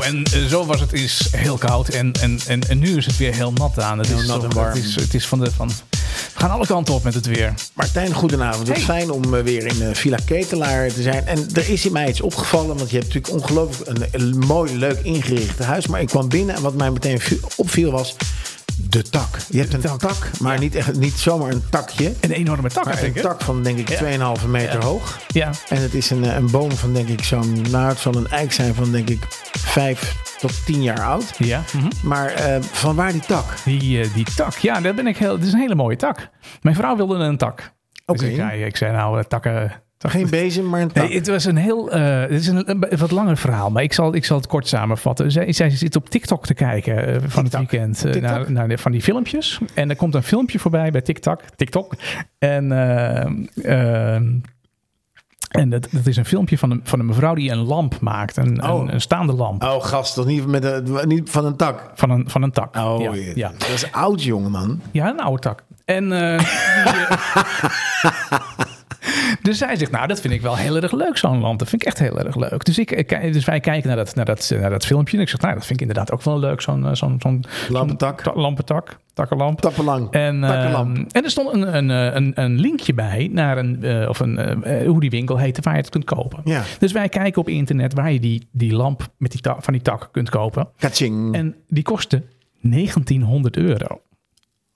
en eh, zo was het is heel koud. En, en, en, en nu is het weer heel nat aan. Het Heel is, nat zo- en warm. Het is, het is van de... Van, we gaan alle kanten op met het weer. Martijn, goedenavond. Het is fijn om eh, weer in eh, Villa Ketelaar te zijn. En er is in mij iets opgevallen, want je hebt natuurlijk ongelooflijk een, een mooi, leuk ingericht huis. Maar ik kwam binnen en wat mij meteen viel- opviel was de tak. Je hebt een tak, maar niet, echt, niet zomaar een takje. Een enorme tak, Maar een denk ik. hè? tak van denk ik 2,5 meter hoog. Ja. En het is een, eh, een boom van denk ik zo'n, nou het zal een eik zijn van denk ik 5 tot 10 jaar oud. Ja. mhm. Maar eh, van waar die tak? Die, eh, die tak, ja, daar ben ik heel. Het is een hele mooie tak. Mijn vrouw wilde een tak. Oké. Dus ik, zei- ik zei nou, eh, takken. tak- Geen bezem, maar een tak. Nee, het was een heel. eh, het is een, een wat langer verhaal, maar ik zal, ik zal het kort samenvatten. Zij, zij zit op TikTok te kijken eh, van het weekend eh, TikTok? naar, naar de- van die filmpjes. En er komt een filmpje voorbij bij TikTok. TikTok. En. eh, eh, en dat, dat is een filmpje van een, van een mevrouw die een lamp maakt. Een, Oh. een, een staande lamp Oh gast, toch niet, met een, niet van een tak? van een, van een tak. Oh, ja, je- ja. dat is oud, jongeman. Ja, een oude tak. En. eh, die, eh, Dus zij zegt, nou, dat vind ik wel heel erg leuk, zo'n land. Dat vind ik echt heel erg leuk. Dus, ik, ik kijk- dus wij kijken naar dat, naar, dat, naar dat filmpje. En ik zeg, nou, dat vind ik inderdaad ook wel leuk, zo'n eh, zo'n zo'n Lampentak. ta- lampentak, takkenlamp. Tappenlang. En, eh, Takkenlamp. en er stond een, een, eh, een, een linkje bij naar een, eh, of een, eh, eh, hoe die winkel heette, waar je het kunt kopen. Ja. Dus wij kijken op internet waar je die, die lamp met die ta- van die tak kunt kopen. Kaching. En die kostte 1900 euro.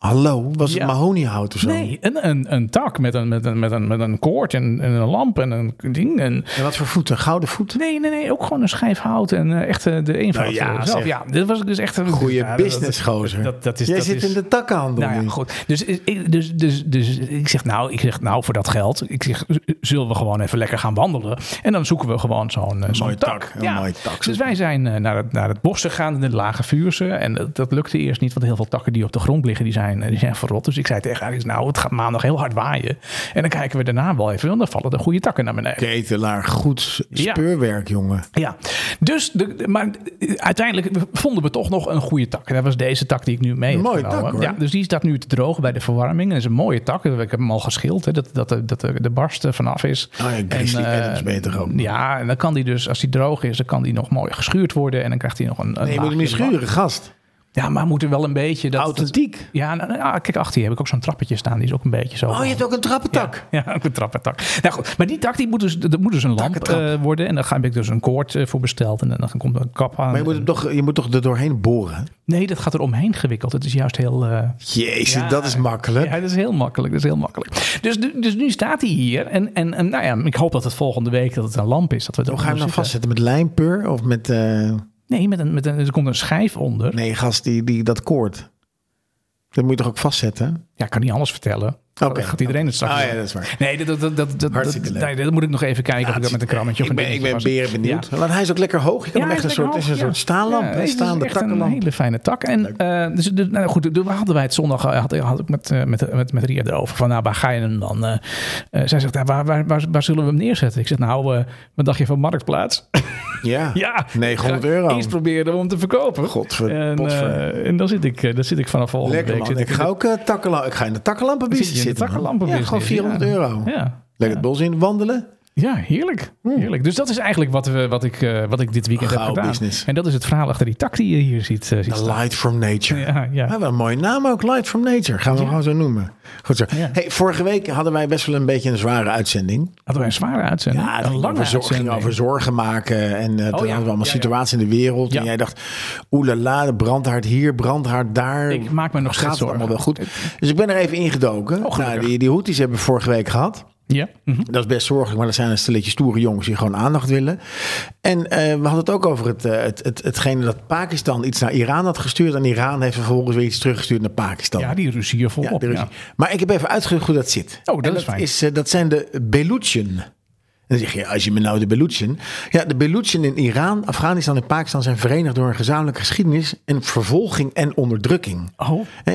Hallo, was Ja. het mahoniehout of zo? Nee, een, een, een tak met een, met een, met een, met een koord en, en een lamp en een ding. En, En wat voor voet? Een gouden voet? nee, nee, nee, ook gewoon een schijf hout en eh, echt eh, de eenvoud Nou ja, eh, zelf. zeg. Ja, dit was ik dus echt een Goeie ja, dat- businessgozer. Dat, dat is, Jij dat zit is, in de takkenhandel Nou ja, nu. goed. Dus, ik- dus, dus, dus ik, zeg nou, ik zeg nou voor dat geld, ik zeg, zullen we gewoon even lekker gaan wandelen. En dan zoeken we gewoon zo'n eh, zo'n mooi tak. tak, een mooi tak. Dus wij zijn eh, naar het, naar het bos gegaan, in de lage vuurse. En dat, dat lukte eerst niet, want heel veel takken die op de grond liggen, die zijn, eh, die zijn verrot. Dus ik zei tegen haar, ik zei, nou, het gaat maandag heel hard waaien. En dan kijken we daarna wel even, want dan vallen de goede takken naar beneden. Ketelaar, goed Ja. speurwerk, jongen. Ja, dus de, de- maar uiteindelijk vonden we toch nog een goede tak. En dat was deze tak die ik nu mee heb Een mooie genomen. tak, hoor. Ja, dus die staat nu te drogen bij de verwarming. Dat is een mooie tak. Ik heb hem al geschild, hè, dat, dat, de- dat de, de barst er vanaf is. Oh ja, Grizzly eh, Adams ben je toch ook? Ja, en dan kan die dus, als die droog is, dan kan die nog mooi geschuurd worden. En dan krijgt hij nog een, een Nee, je moet laagje hem niet ervan. schuren, gast. Ja, maar moet er wel een beetje... Dat, Authentiek. ja, nou, nou, ja, kijk, achter je heb ik ook zo'n trappetje staan. Die is ook een beetje zo. Oh, je hebt ook een trappentak. Ja, ook een trappentak. Nou goed, maar die tak die moet, dus, dat moet dus een lamp Takkentrap. eh, worden. En daar ga- heb ik dus een koord eh, voor besteld. En dan dan komt er een kap aan. Maar je moet, hem toch, je moet toch er doorheen boren? Nee, dat gaat er omheen gewikkeld. Het is juist heel... eh, Jezus, Ja. dat is makkelijk. ja, dat is heel makkelijk. Dat is heel makkelijk. Dus, dus nu staat hij hier. En, en, en nou ja, ik hoop dat het volgende week dat het een lamp is. Dat we het Hoe ook ga je hem gaan dan vastzetten? Met lijmpeur of met... eh, Nee, met een, met een, er komt een schijf onder. Nee, gast, die, die, dat koord. Dat moet je toch ook vastzetten? Ja, ik kan niet alles vertellen. Oké. Gaat iedereen het straks Ah ja, doen. dat is waar. Nee, dat, dat, dat, dat, dat, Hartstikke leuk. nee, dat moet ik nog even kijken of ik dat met een krammetje of ik een ben, ik ben dingetje beren vast- benieuwd. Ja. Want hij is ook lekker hoog. Je kan Ja, hem echt hij is een soort, lekker het is een hoog, soort ja. staanlamp, Ja, een het is staande echt een takkenlamp. hele fijne tak. En eh, dus, de- nou goed, de- hadden wij het zondag eh, had, had ik met, eh, met, met, met Ria erover. Van nou, waar ga je hem dan? eh, eh, zij zegt, nou, waar, waar, waar, waar zullen we hem neerzetten? Ik zeg, nou, eh wat dacht je van Marktplaats? Ja. ja, 900 Ik ga euro. Eerst proberen om te verkopen. Godver- en, potver. eh, en dan zit ik, eh, dan zit ik vanaf volgende Lekker week. man. zit Ik in ga de- ook eh, takkenla- ik ga in de takkenlampenbusiness zit je in de zitten. man. takkenlampenbusiness, Ja, gewoon 400 ja. euro. Ja. Lekker het bos in wandelen. Ja, heerlijk. heerlijk. Dus dat is eigenlijk wat, we, wat, ik, eh, wat ik dit weekend heb Gauw gedaan. business. En dat is het verhaal achter die tak die je hier ziet, eh, ziet The staan. Light from Nature. Ja, ja. Ja, wel een mooie naam ook, Light from Nature. Gaan we hem gewoon zo noemen. Goed zo. Ja. Hey, vorige week hadden wij best wel een beetje een zware uitzending. Hadden wij een zware uitzending. Ja, het een ging lange over, zor- ging uitzending. Oh over zorgen maken. En eh toen ja. hadden we allemaal Ja, ja. situaties in de wereld. Ja. En jij dacht, oelala, brandhaard hier, brandhaard daar. Ik maak me nog Gaat steeds het allemaal wel zorgen. goed? Dus ik ben er even ingedoken. Oh, gelukkig. nou, die, die Houthis hebben we vorige week gehad. Ja. mhm. Dat is best zorgelijk, maar dat zijn een stelletje stoere jongens die gewoon aandacht willen. En eh, we hadden het ook over het, eh, het, het, hetgene dat Pakistan iets naar Iran had gestuurd. En Iran heeft vervolgens weer iets teruggestuurd naar Pakistan. ja, die ruzie hier Ja, volop. de ruzie. Ja, Oh, Maar ik heb even uitgezocht hoe dat zit. dat En is fijn. eh, dat zijn de Belutschen. En dan zeg je, als je me nou de Belutschen... Ja, de Belutschen in Iran, Afghanistan en Pakistan... zijn verenigd door een gezamenlijke geschiedenis... en vervolging en onderdrukking. Oh. Hè,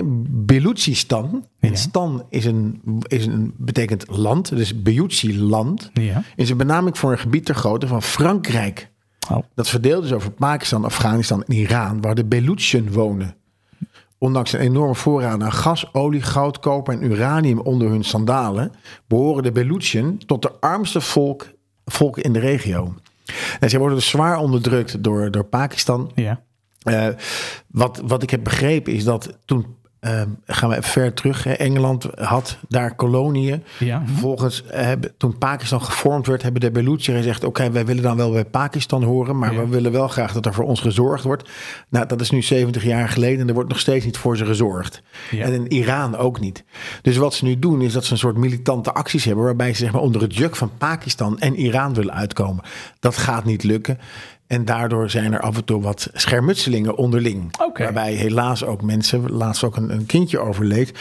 Beluchistan. En stan is een, is een, betekent land, dus Beluchi-land... Ja. is een benaming voor een gebied ter grootte van Frankrijk. Oh. Dat verdeeld is over Pakistan, Afghanistan en Iran, waar de Belutschen wonen. Ondanks een enorme voorraad aan gas, olie, goud, koper en uranium onder hun sandalen, behoren de Belutschen tot de armste volk, volken in de regio. En zij worden dus zwaar onderdrukt door, door Pakistan. Ja. Eh, wat, wat ik heb begrepen is dat toen, eh, gaan we even ver terug, hè, Engeland had daar koloniën. Ja. Vervolgens, hebben, toen Pakistan gevormd werd, hebben de Belucci gezegd... oké, wij willen dan wel bij Pakistan horen... maar Ja. we willen wel graag dat er voor ons gezorgd wordt. Nou, dat is nu 70 jaar geleden en er wordt nog steeds niet voor ze gezorgd. Ja. En in Iran ook niet. Dus wat ze nu doen, is dat ze een soort militante acties hebben... waarbij ze zeg maar, onder het juk van Pakistan en Iran willen uitkomen. Dat gaat niet lukken. En daardoor zijn er af en toe wat schermutselingen onderling. Oké. Waarbij helaas ook mensen, laatst ook een, een kindje overleed.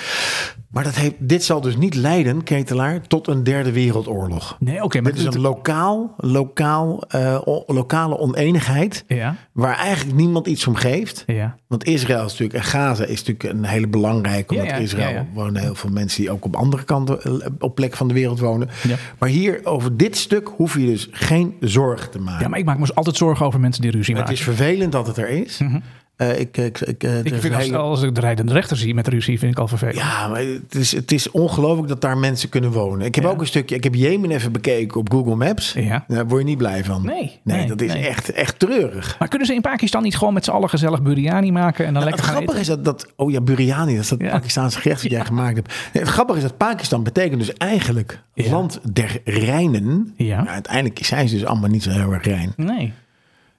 Maar dat heeft, dit zal dus niet leiden, Ketelaar, tot een derde wereldoorlog. Nee, oké, maar Dit is het- een lokaal, lokaal, eh, o- lokale oneenigheid Ja. waar eigenlijk niemand iets om geeft. Ja. Want Israël is natuurlijk, en Gaza is natuurlijk een hele belangrijke. Ja, Omdat ja, Israël ja, ja. wonen heel veel mensen die ook op andere kanten eh, op plek van de wereld wonen. Ja. Maar hier over dit stuk hoef je dus geen zorgen te maken. Ja, maar ik maak me dus altijd zorgen over mensen die ruzie Het maken. is vervelend dat het er is. Eh, ik, ik, ik, eh, er Mhm. ik is vind een als, hele- als ik de rijdende rechter zie met ruzie, vind ik al vervelend. Ja, maar het is, het is ongelooflijk dat daar mensen kunnen wonen. Ik heb Ja. ook een stukje, ik heb Jemen even bekeken op Google Maps. Ja. Daar word je niet blij van. Nee, nee, nee, dat is nee. echt, echt treurig. Maar kunnen ze in Pakistan niet gewoon met z'n allen gezellig biryani maken en dan het lekker gaan grappige is dat, dat, oh ja, Biryani, dat is dat Ja. Pakistaanse gerecht dat jij gemaakt hebt. Nee, het grappige is dat Pakistan betekent dus eigenlijk Ja. land der reinen. Ja. Maar uiteindelijk zijn ze dus allemaal niet zo heel erg rein. eten? Nee.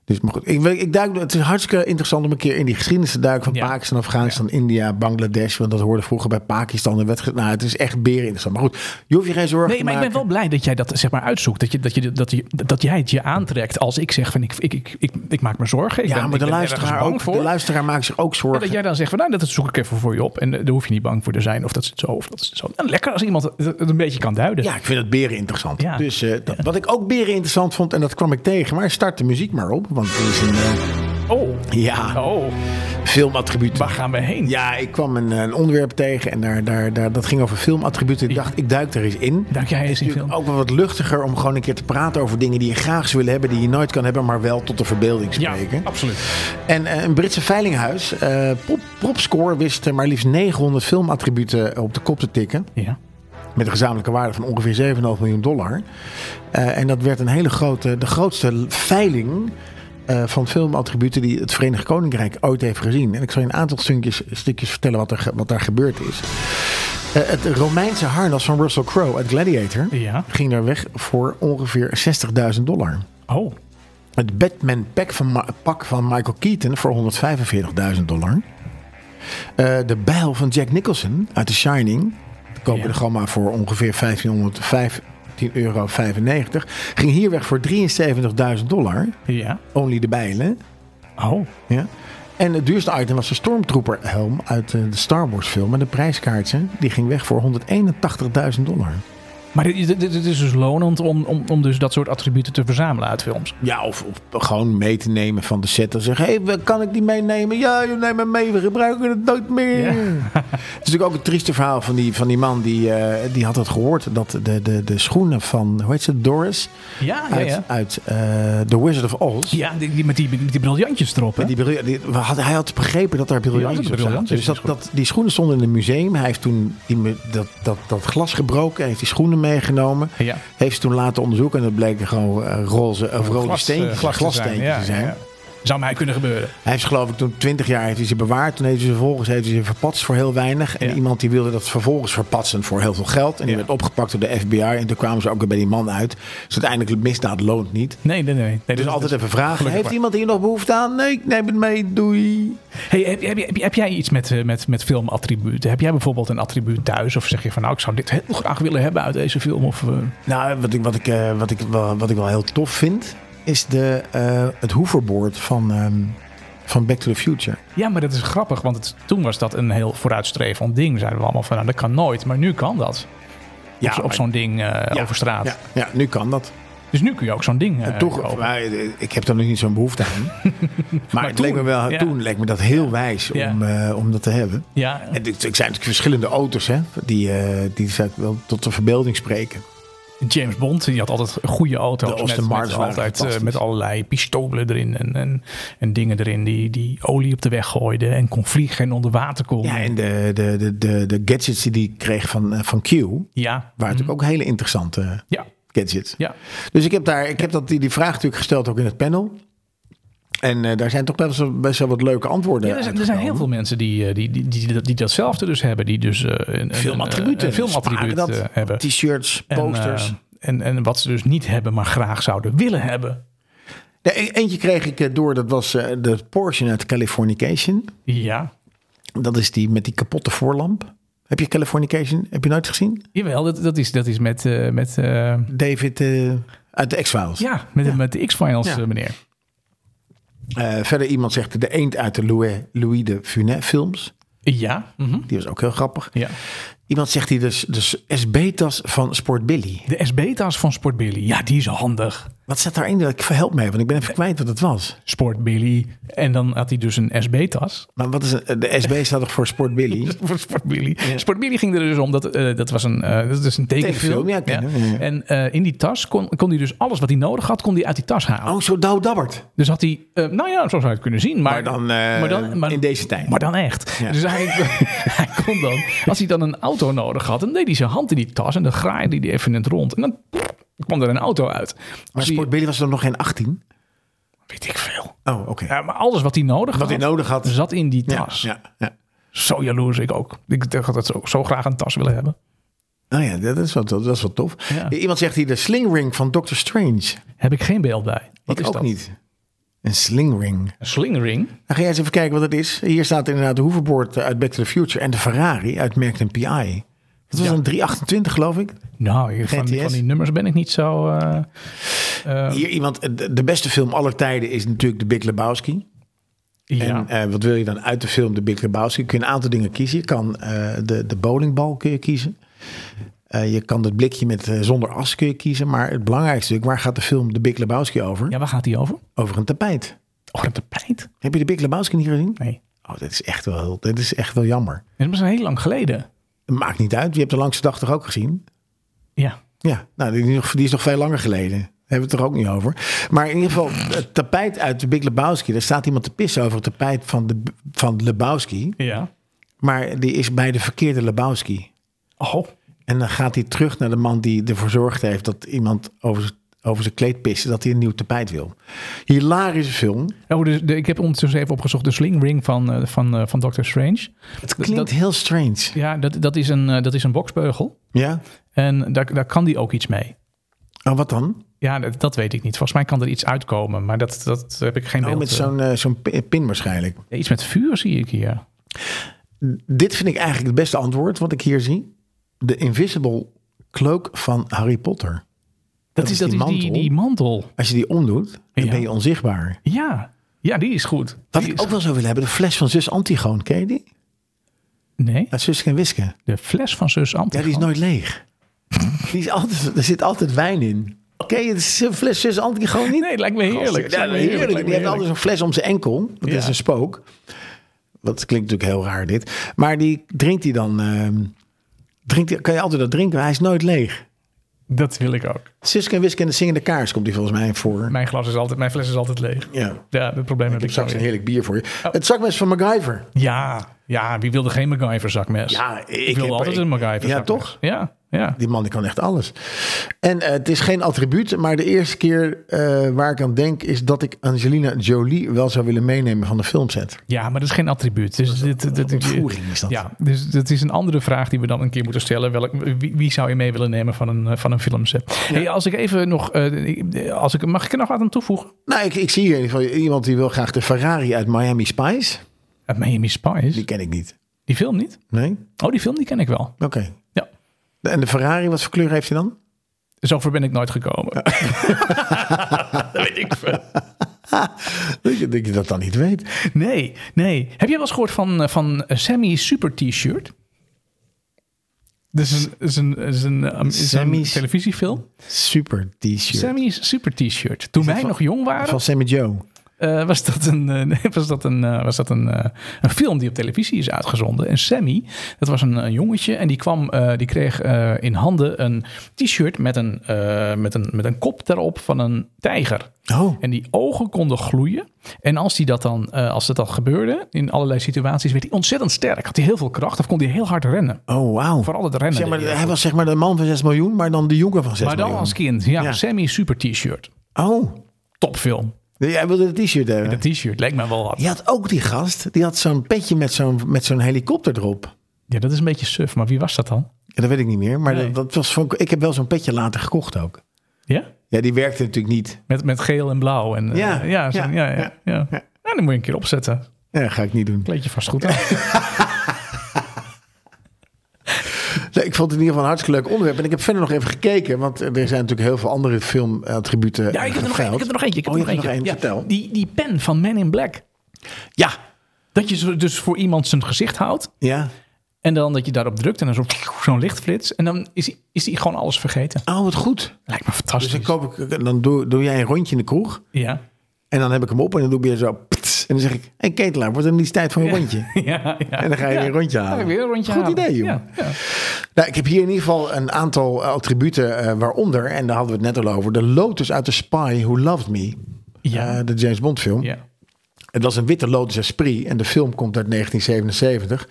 Dus maar goed, ik, wil- ik duik, het is hartstikke interessant om een keer in die geschiedenis te duiken van Ja. Pakistan, Afghanistan, India, Bangladesh. Want dat hoorde vroeger bij Pakistan. En werd, ge- nou, het is echt beren interessant. Maar goed, je hoeft je geen zorgen Nee, te maar ik maken. ben wel blij dat jij dat zeg maar uitzoekt. Dat, je, dat, je, dat, je, dat jij het je aantrekt als ik zeg van ik, ik, ik, ik, ik maak me zorgen. Ik Ja, ben, maar ik de ben ergens luisteraar, bang ook, voor. de luisteraar maakt zich ook zorgen. dat jij dan zegt van nou, dat zoek ik even voor je op. En eh, daar hoef je niet bang voor te zijn of dat is het zo of dat is het zo. En lekker als iemand het- het een beetje kan duiden. Ja, ik vind het beren interessant. Ja. Dus eh, dat- wat ik ook beren interessant vond, en dat kwam ik tegen, maar start de muziek maar op. Want er is een eh, Oh. ja, Oh, filmattribuut. waar gaan we heen? Ja, ik kwam een, eh, een onderwerp tegen en daar, daar, daar, dat ging over filmattributen. Ik dacht, ik duik er eens in. Dank jij eens in film. natuurlijk ook wel wat luchtiger om gewoon een keer te praten over dingen die je graag zou willen hebben, die je nooit kan hebben, maar wel tot de verbeelding Ja, spreken. absoluut. En eh, een Britse veilinghuis, eh, Prop- Propscore, wist eh, maar liefst 900 filmattributen op de kop te tikken. Ja. Met een gezamenlijke waarde van ongeveer 7,5 miljoen dollar. Eh, en dat werd een hele grote, de grootste veiling eh, van filmattributen die het Verenigd Koninkrijk ooit heeft gezien. En ik zal je een aantal stukjes, stukjes vertellen wat, er, ge- wat daar gebeurd is. Eh, het Romeinse harnas van Russell Crowe uit Gladiator Ja. ging daar weg voor ongeveer 60.000 dollar. Oh, Het Batman pack van, Ma- pak van Michael Keaton voor 145.000 dollar. Eh, de bijl van Jack Nicholson uit The Shining. Die kopen Ja. er gewoon maar voor ongeveer 1505 10,95 euro. Ging hier weg voor 73.000 dollar. ja. Only de bijlen. Oh, Ja. En het duurste item was de Stormtrooper helm uit eh, de Star Wars film. En de prijskaartje die ging weg voor 181.000 dollar. Maar dit, dit- dit- dit is dus lonend om, om, om dus dat soort attributen te verzamelen uit films. Ja, of, of gewoon mee te nemen van de set. En zeggen, hé, hey, kan ik die meenemen? Ja, je neemt me mee, we gebruiken het nooit meer. Ja. het is natuurlijk ook het trieste verhaal van die, van die man. Die, eh, die had het gehoord dat de, de, de schoenen van, hoe heet ze, Doris? Ja, ja, Uit, ja. uit eh, The Wizard of Oz. Ja, die, die- met die, met die briljantjes erop. hè? Die bril- die- we hadden- hij had begrepen dat daar briljantjes Ja, dat op zaten. briljantjes, Dus dat, dat, die schoenen stonden in een museum. Hij heeft toen die, me- dat, dat, dat glas gebroken. Hij heeft die schoenen meegenomen. Ja. Heeft ze toen laten onderzoeken. En dat bleken gewoon eh, roze of rode Glas, eh, steentjes. glas te glassteentjes zijn, ja, te zijn. ja, ja. Zou mij kunnen gebeuren. Hij heeft ze, geloof ik toen 20 jaar heeft hij ze bewaard. Toen heeft hij ze vervolgens heeft hij ze verpatst voor heel weinig. En Ja. iemand die wilde dat vervolgens verpatsen voor heel veel geld. En die Ja. werd opgepakt door de FBI. En toen kwamen ze ook weer bij die man uit. Dus uiteindelijk misdaad loont niet. Nee, nee, nee. nee dat Dus is- altijd even vragen. Gelukkig Heeft maar. iemand hier nog behoefte aan? Nee, ik neem het mee. Doei. Hey, heb, heb, heb, heb jij iets met, eh, met, met filmattributen? Heb jij bijvoorbeeld een attribuut thuis? Of zeg je van nou, ik zou dit heel graag willen hebben uit deze film? Of, eh, Nou, wat ik, wat ik, eh, wat ik, wel, wat ik wel heel tof vind... is de, eh, het hoverboard van, ehm, van Back to the Future. Ja, maar dat is grappig, want het, toen was dat een heel vooruitstrevend ding. Zeiden we allemaal van nou, dat kan nooit. Maar nu kan dat. Ja, op maar- zo'n ding eh, Ja, over straat. Ja, ja, nu kan dat. Dus nu kun je ook zo'n ding. eh, Toch, kopen. maar ik heb daar nog niet zo'n behoefte aan. maar het toen, leek me wel, ja. toen leek me dat heel wijs om, Ja. eh, om dat te hebben. Ja, En dit- het zijn natuurlijk verschillende auto's, hè, die, eh die zou ik wel tot de verbeelding spreken. James Bond die had altijd goede auto's. De Aston met, Martins met, waren altijd, eh, fantastisch. met allerlei pistolen erin en, en, en dingen erin die, die olie op de weg gooiden. En kon vliegen en onder water kon. Ja, en de, de, de, de, de gadgets die die kreeg van, eh, van Q, waren ja. natuurlijk ook hele interessante ja. gadgets. Mhm. Ja. Dus ik heb, daar, ik heb dat, die, die vraag natuurlijk gesteld ook in het panel. En eh, daar zijn toch best, wel- best wel wat leuke antwoorden. Ja, er, zijn, er zijn heel uitgekomen. veel mensen die, eh, die, die, die, dat- die datzelfde dus hebben. Die dus eh, een- een, Film een, attributen. een filmattribuut Spaken eh, dat, hebben. T-shirts, En, eh, posters. En, en, wat ze dus niet hebben, maar graag zouden willen hebben. De e- eentje kreeg ik eh, door, dat was eh, de Porsche uit Californication. Ja, Dat is die met die kapotte voorlamp. Heb je Californication? Heb je nooit gezien? jawel, dat, dat, is, dat is met, eh, met, eh, David eh, uit de X-Files. ja, met, met de X-Files, Ja. eh, meneer. Eh, verder iemand zegt de eend uit de Louis, Louis de Funès films. Ja, mhm. Die was ook heel grappig. ja. Iemand zegt die dus, dus SB-tas van Sport Billy. De S-Beta's van Sport Billy. Ja, die is handig. Wat staat daarin? Ik help mij, want ik ben even kwijt wat het was. Sport Billy. En dan had hij dus een SB-tas. Maar wat is een, de SB staat toch voor Sport Billy? Voor Sport Billy. Sport Billy ging er dus om, dat, eh, dat was een, eh, dat is een tekenfilm. Tekenfilm, ja, ik ken hem, ja. En eh, in die tas kon, kon hij dus alles wat hij nodig had, kon hij uit die tas halen. Oh, zo Douw Dabbert. Dus had hij, eh, nou ja, zo zou je het kunnen zien. Maar, Maar dan, eh, in deze tijd. Maar dan echt. Ja. Dus hij, hij kon dan, als hij dan een auto nodig had, dan deed hij zijn hand in die tas en dan graaide hij die even in het rond. En dan kwam er een auto uit. Maar Als hij- Sport Billy was dan nog geen 18? Weet ik veel. Oh, oké. Ja, maar alles wat hij nodig Wat hij had, nodig had. zat in die Ja, tas. ja, ja. Zo jaloers ik ook. Ik dacht dat zo, zo graag een tas willen hebben. Nou ja, dat is wat, dat is wat tof. Ja. Iemand zegt hier de slingring van Doctor Strange. Heb ik geen beeld bij. Wat ik is ook dat? niet. Een slingring. Een slingring. Dan ga jij eens even kijken wat het is. Hier staat inderdaad de hoverboard uit Back to the Future en de Ferrari uit Merck PI. Dat was Ja. een 328, geloof ik. Nou, van, GTS. van die nummers ben ik niet zo... eh, Oh. Hier iemand, de- de beste film aller tijden is natuurlijk de Big Lebowski. ja. En eh, wat wil je dan uit de film de Big Lebowski? Kun je een aantal dingen kiezen. Je kan eh, de, de bowlingbal kun je kiezen. Eh, je kan het blikje met, eh, zonder as kun je kiezen. Maar het belangrijkste natuurlijk, waar gaat de film de Big Lebowski over? ja, waar gaat die over? Over een tapijt. Oh, een tapijt? Heb je de Big Lebowski niet gezien? Nee. Oh, dat is echt wel, dat is echt wel jammer. Dat is heel lang geleden. Maakt niet uit. Je hebt de langste dag toch ook gezien? Ja. Ja, nou, die, is nog- die is nog veel langer geleden. Daar hebben we het er ook niet over. Maar in ieder geval, het tapijt uit de Big Lebowski. Daar staat iemand te pissen over het tapijt van, de, van Lebowski. Ja. Maar die is bij de verkeerde Lebowski. Oh. En dan gaat hij terug naar de man die ervoor zorgd heeft... dat iemand over, z- over zijn kleed pist, dat hij een nieuw tapijt wil. Hilarische film. oh dus de, ik heb ondertussen even opgezocht de slingring van, eh, van, eh, van Doctor Strange. Het klinkt dat- heel strange. Ja, dat, dat, is, een, eh, dat is een boksbeugel. Ja? En daar, daar kan die ook iets mee. Oh, wat dan? Ja, dat, dat weet ik niet. Volgens mij kan er iets uitkomen, maar dat, dat heb ik geen Oh, beeld. met eh. zo'n eh, zo'n pi- pin waarschijnlijk. Ja, Iets met vuur zie ik hier. Dit vind ik eigenlijk het beste antwoord wat ik hier zie. De Invisible Cloak van Harry Potter. Dat, is is, dat die is die, mantel. die mantel. Als je die omdoet, dan Ja. ben je onzichtbaar. Ja. Ja, die is goed. Wat Die ik is- ook wel zou willen hebben, de fles van zus Antigoon. Ken je die? Nee, Uit Suske en Wiske. de fles van zus Antigon. Ja, die is nooit leeg. die is altijd, er zit altijd wijn in. Ken je de fles zus Antigoon niet? Nee, het lijkt me heerlijk. Ja, Het lijkt me Oh. heerlijk. lijkt me Die heeft altijd zo'n fles om zijn enkel. Dat Ja. is een spook. Dat klinkt natuurlijk heel raar dit. Maar die drinkt hij dan... ehm, drinkt hij, kan je altijd dat drinken, hij is nooit leeg. Dat wil ik ook. Suske en Wiske en de zingende kaars komt die volgens mij voor. Mijn glas is altijd, mijn fles is altijd leeg. Ja. Ja, dat probleem heb ik Ik heb zo straks een weer. heerlijk bier voor je. Oh. Het zakmes van MacGyver. Ja, ja, wie wilde geen MacGyver zakmes? Ja, ik ik wilde heb- altijd ik- een MacGyver Ja, zakmes. toch? Ja, ja. Die man die kan echt alles. En eh, het is geen attribuut, maar de eerste keer eh, waar ik aan denk is dat ik Angelina Jolie wel zou willen meenemen van de filmset. ja, maar dat is geen attribuut. Dus dit, dit, dit- Ontvoering is dat. Ja, dus dat is een andere vraag die we dan een keer moeten stellen. Welk, wie, wie zou je mee willen nemen van een, eh, van een filmset? Hey, als ik even nog, eh, ik- als ik, mag ik er nog wat aan toevoegen? Nou, ik, ik zie hier in ieder geval iemand die wil graag de Ferrari uit Miami Spice. Uit Eh, Miami Spice? Die ken ik niet. Die film niet? Nee? Oh, die film die ken ik wel. Oké. Ja, En de Ferrari, wat voor kleur heeft hij dan? zover ben ik nooit gekomen. dat weet ik veel. Dat je- dat je dat dan niet weet. Nee, nee. Heb jij wel eens gehoord van, eh, van Sammy Super T-shirt? Dat is een, is een, is een, eh, is een Sammy's- televisiefilm. Super t-shirt. Sammy's Super T-shirt. Toen wij van- nog jong waren, Van Sammy Joe. eh, eh, was dat, een, eh, was dat, een, eh, was dat een, eh, een film die op televisie is uitgezonden. En Sammy, dat was een, een jongetje en die, kwam, eh, die kreeg eh, in handen een t-shirt met, een, eh, met, een, met een kop daarop van een tijger. Oh. En die ogen konden gloeien. En als, die dat dan, eh, als dat dan gebeurde, in allerlei situaties, werd hij ontzettend sterk. Had hij heel veel kracht of kon hij heel hard rennen. Oh, wauw. Vooral het rennen. Zeg maar, eh, deed hij hij heel was zeg maar de man van 6 miljoen, maar dan de jongen van 6 goed. maar dan miljoen. als kind, ja, Ja. Sammy super t-shirt. Oh, Topfilm. jij wilde het t-shirt hebben. Dat t-shirt lijkt mij wel wat. Je had ook die gast, die had zo'n petje met zo'n, met zo'n helikopter erop. Ja, dat is een beetje suf, maar wie was dat dan? Ja, dat weet ik niet meer, maar Nee. dat, dat was van, ik heb wel zo'n petje later gekocht ook. Ja? Ja, die werkte natuurlijk niet. Met, met geel en blauw. En, eh, Ja, ja, zo- ja, ja, ja, ja, ja, ja. Nou, dan moet je een keer opzetten. Ja, dat ga ik niet doen. Kleed je vast goed aan. Nee, ik vond het in ieder geval een hartstikke leuk onderwerp. En ik heb verder nog even gekeken, want er zijn natuurlijk heel veel andere filmattributen Ja, ik heb er nog, geveild. een- ik heb er nog eentje. Ik heb Oh, er je nog hebt eentje. er nog Ja, een, vertel. die, die pen van Men in Black. Ja, Dat je zo- dus voor iemand zijn gezicht houdt. ja. En dan dat je daarop drukt en dan zo- zo'n lichtflits. En dan is hij is hij gewoon alles vergeten. Oh, wat goed. Lijkt me Dus fantastisch. dan, koop ik, dan doe, doe jij een rondje in de kroeg. ja. En dan heb ik hem op en dan doe ik weer zo. pts. en dan zeg ik: Hé, hey, Ketelaar, wordt het niet eens tijd voor een rondje? ja, ja. En dan ga je weer een rondje halen. Ga ik weer een rondje Goed halen. idee, joh. Ja, ja. Nou, ik heb hier in ieder geval een aantal eh, attributen eh, waaronder, en daar hadden we het net al over, de Lotus uit The Spy Who Loved Me. Ja. Eh, de James Bond film. Ja. Het was een witte Lotus Esprit en de film komt uit 1977.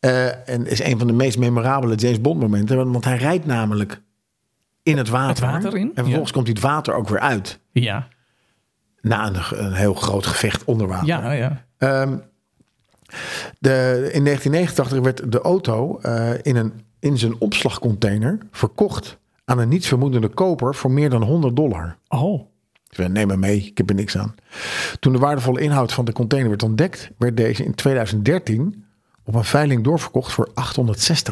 Eh, en is een van de meest memorabele James Bond momenten, want, want hij rijdt namelijk in het water. Het water in, en vervolgens komt hij het water ook weer uit. Ja. Na een, een heel groot gevecht onder water. Ja, ja. Ehm, de, in 1989 werd de auto eh, in, een, in zijn opslagcontainer verkocht aan een nietsvermoedende koper voor meer dan 100 dollar. Oh. Ik zei, neem maar mee, ik heb er niks aan. Toen de waardevolle inhoud van de container werd ontdekt, werd deze in 2013 op een veiling doorverkocht voor 860.000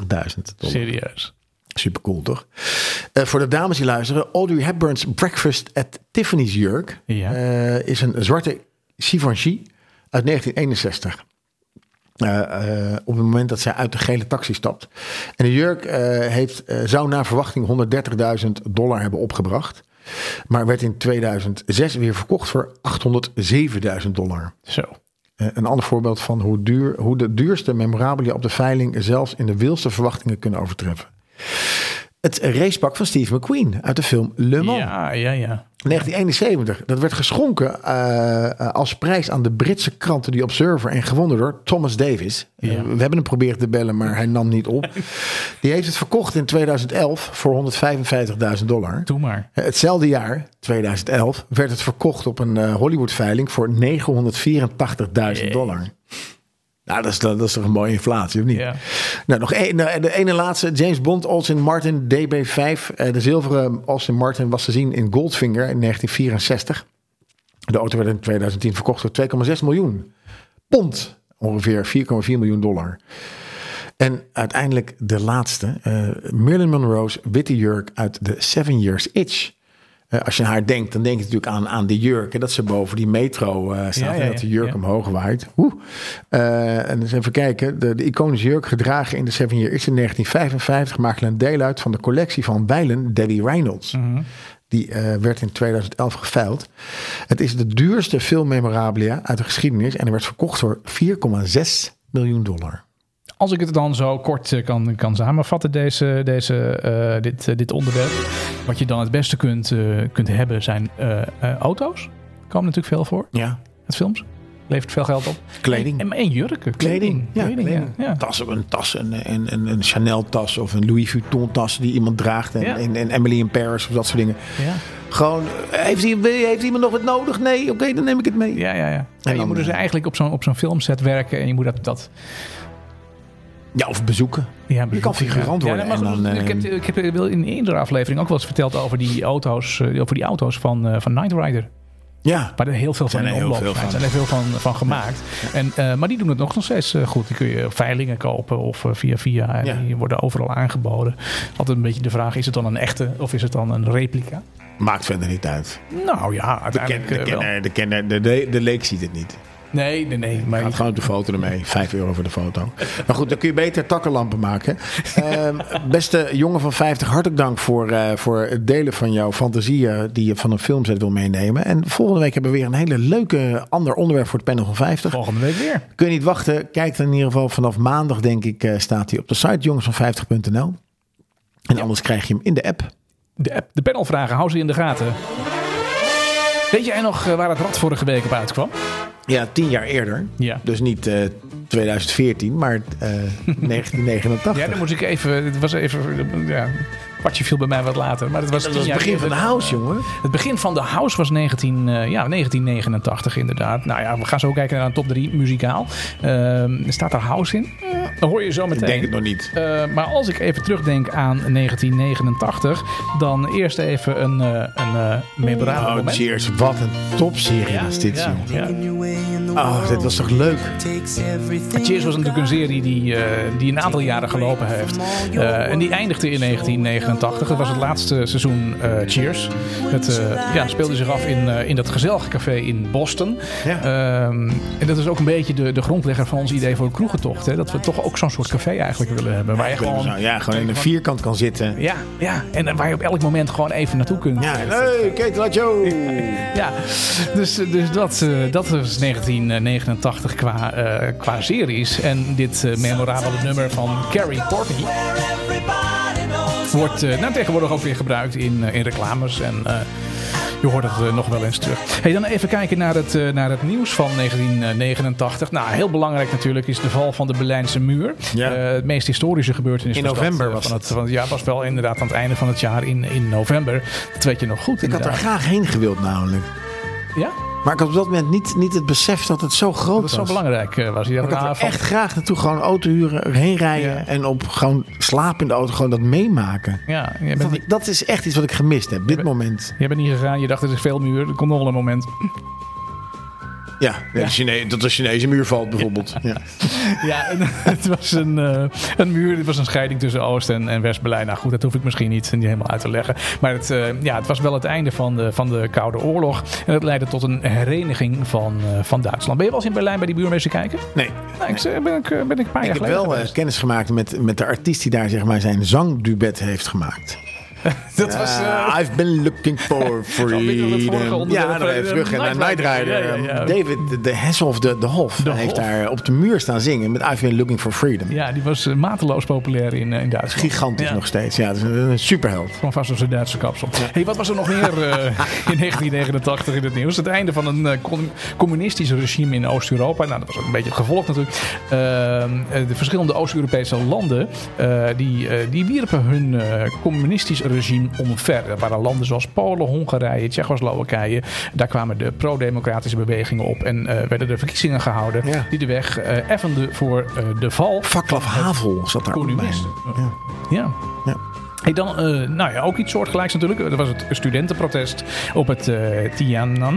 dollar. Serieus. Super cool, toch? Eh, voor de dames die luisteren, Audrey Hepburn's Breakfast at Tiffany's jurk Ja. eh, is een zwarte Givenchy uit 1961. Eh, eh, op het moment dat zij uit de gele taxi stapt. En de jurk eh, heeft, eh, zou naar verwachting 130.000 dollar hebben opgebracht. Maar werd in 2006 weer verkocht voor 807.000 dollar. Zo. Eh, een ander voorbeeld van hoe, duur, hoe de duurste memorabilia op de veiling zelfs in de wildste verwachtingen kunnen overtreffen. Het racepak van Steve McQueen uit de film Le Mans. Ja, ja, ja. 1971. Dat werd geschonken eh, eh, als prijs aan de Britse kranten The Observer en gewonnen door Thomas Davis. Ja. Eh, we hebben hem proberen te bellen, maar hij nam niet op. Die heeft het verkocht in 2011 voor 155.000 dollar. Doe maar. Hetzelfde jaar, 2011, werd het verkocht op een eh, Hollywood-veiling voor 984.000 dollar. Nou, dat is, dat is toch een mooie inflatie, of niet? Ja. Nou, nog één, nou, de ene laatste. James Bond, Austin Martin, DB5. Eh, de zilveren Austin Martin was te zien in Goldfinger in 1964. De auto werd in 2010 verkocht voor 2,6 miljoen pond. Ongeveer 4,4 miljoen dollar. En uiteindelijk de laatste. eh, Marilyn Monroe's witte jurk uit de Seven Years Itch. Eh, als je aan haar denkt, dan denk je natuurlijk aan, aan de jurk. En dat ze boven die metro eh, staat Ja, ja, en dat de ja, jurk ja. omhoog waait. Oeh. Eh, en eens even kijken. De, de iconische jurk gedragen in de Seven Years Itch in 1955 maakte een deel uit van de collectie van wijlen Debbie Reynolds. Mhm. Die eh, werd in 2011 geveild. Het is de duurste filmmemorabilia uit de geschiedenis. En er werd verkocht voor 4,6 miljoen dollar. Als ik het dan zo kort eh, kan, kan samenvatten, deze, deze, eh, dit, eh, dit onderwerp. Wat je dan het beste kunt, eh, kunt hebben zijn eh, eh, auto's. Komen natuurlijk veel voor Ja. uit films. Levert veel geld op. Kleding. En, en jurken. Kleding. Kleding. Ja, kleding. ja. Ja. Tas, ook een tas, een, een, een, een Chanel-tas of een Louis Vuitton-tas die iemand draagt. En, Ja. en, en Emily in Paris of dat soort dingen. Ja. Gewoon, eh, heeft, ie- wil- heeft iemand nog wat nodig? Nee, oké, dan neem ik het mee. Ja, ja, ja. dan, je moet dus eh, eigenlijk op zo'n op zo'n filmset werken en je moet dat. dat Ja, of bezoeken. ja, Je kan figurant worden. Ja, maar en goed, dan, eh, ik, heb, ik heb wel in eerdere aflevering ook wel eens verteld over die auto's, eh, over die auto's van, eh, van Night Rider. ja. Waar er heel veel van Zijn er in heel omloop veel zijn. van. Er zijn er veel van, van gemaakt. En, eh, maar die doen het nog steeds eh, goed. Die kun je op veilingen kopen of eh, via via. En Ja. Die worden overal aangeboden. Altijd een beetje de vraag, is het dan een echte of is het dan een replica? maakt verder niet uit. Nou ja, uiteindelijk Ken- eh, de, wel. kenner, de, kenner, de, de, de leek ziet het niet. Nee, nee, nee. Maar Maar gaat gewoon op de foto ermee. Vijf euro voor de foto. Maar goed, dan kun je beter takkenlampen maken. Ehm, beste jongen van 50, hartelijk dank voor, eh, voor het delen van jouw fantasieën die je van een filmset wil meenemen. En volgende week hebben we weer een hele leuke ander onderwerp voor het panel van 50. volgende week weer. Kun je niet wachten. Kijk dan in ieder geval vanaf maandag, denk ik, eh, staat hij op de site jongensvan50.nl. En anders krijg je hem in de app. De, app- de panelvragen, hou ze in de gaten. Weet jij nog eh, waar het rad vorige week op uitkwam? Ja, tien jaar eerder. Ja. Dus niet eh, 2014, maar eh, 1989. Ja, dan moest ik even. Het was even. Ja, kwartje viel bij mij wat later. Maar het was, dat tien was het jaar begin van de eerder. house, jongen. Het begin van de house was 19, eh, ja, 1989 inderdaad. Nou ja, we gaan zo kijken naar een top 3 muzikaal. Ehm, staat er house in? Eh, Dat hoor je zo meteen. Ik denk het nog niet. Eh, maar als ik even terugdenk aan 1989, dan eerst even een, eh een eh memorabel Oh, moment. cheers. Wat een topserie Ja, is dit, ja, jongen. ja. Ah, Oh, dit was toch leuk? Cheers was natuurlijk een serie die, eh, die een aantal jaren gelopen heeft. Eh, en die eindigde in 1989. Dat was het laatste seizoen eh, Cheers. Het eh, ja, speelde zich af in, eh, in dat gezellige café in Boston. Ja. Ehm, en dat is ook een beetje de, de grondlegger van ons idee voor een kroegentocht. Hè? Dat we toch ook zo'n soort café eigenlijk willen hebben. Waar je Zo, gewoon... ja, gewoon in een vierkant kan zitten. Ja, ja, en eh, waar je op elk moment gewoon even naartoe kunt. Ja, hey, Kate Joe. Ja, dus, dus dat, eh, dat was 1989 qua, eh, qua series. En dit eh, memorabele nummer van Carrie Courtney wordt eh, nou, tegenwoordig ook weer gebruikt in, eh, in reclames. En eh, je hoort het eh, nog wel eens terug. Hey, dan even kijken naar het, eh, naar het nieuws van 1989. Nou, heel belangrijk natuurlijk is de val van de Berlijnse muur. Ja. Eh, het meest historische gebeurtenis In was dat, november eh, was van het. het. van- ja, was wel inderdaad aan het einde van het jaar in, in november. Dat weet je nog goed Ik had er inderdaad. graag heen gewild namelijk. Ja? Maar ik had op dat moment niet, niet het besef dat het zo groot Dat was. zo belangrijk eh, was. Je dacht, Ik had ah, er van- echt graag naartoe gewoon auto huren, erheen rijden Ja. en op gewoon slapen in de auto, gewoon dat meemaken. Ja, jij bent, Dat, niet, dat is echt iets wat ik gemist heb, dit moment. jij bent niet gegaan. Je dacht, er is veel muur. Er komt nog wel een moment. Ja, nee, de Chine- dat de Chinese muur valt bijvoorbeeld. Ja. Ja, en het was een, eh, een muur. Het was een scheiding tussen Oost- en, en West-Berlijn. Nou goed, dat hoef ik misschien niet, niet helemaal uit te leggen. Maar het, eh, ja, het was wel het einde van de, van de Koude Oorlog. En dat leidde tot een hereniging van, eh, van Duitsland. Ben je wel eens in Berlijn bij die buurmeester kijken? Nee, Nou, ik, eh, ben, ik, eh, ben ik een paar jaar ik heb geleden wel eh, geweest. kennis gemaakt met, met de artiest die daar zeg maar, zijn zangduet heeft gemaakt. Dat was... eh, Ah, I've been looking for beetje als het vorige freedom. onderwerp, Ja, dan eh, even terug naar Night Rider. Night Rider. Ja, ja, ja. David de, de Hesselhoff, de, de Hof, heeft Hof. daar op de muur staan zingen met I've been looking for freedom. ja, die was eh, mateloos populair in, eh, in Duitsland. Gigantisch Ja. nog steeds. Ja, dat is een, een superheld. Gewoon vast op zijn Duitse kapsel. Hey, wat was er nog meer eh, in 1989 in het nieuws? Het einde van een eh, com- communistisch regime in Oost-Europa. Nou, dat was ook een beetje het gevolg natuurlijk. Ehm, eh, de verschillende Oost-Europese landen... eh, die, eh, die wierpen hun eh, communistisch regime omver. Er waren landen zoals Polen, Hongarije, Tsjechoslowakije. Daar kwamen de pro-democratische bewegingen op... en eh, werden er verkiezingen gehouden... Ja. die de weg eh effenden voor eh, de val Vaklav Havel zat daar ook bij. communisten. Ja. Ja. Ja. Hey, dan, eh, nou ja, ook iets soortgelijks natuurlijk. Dat was het studentenprotest op het eh,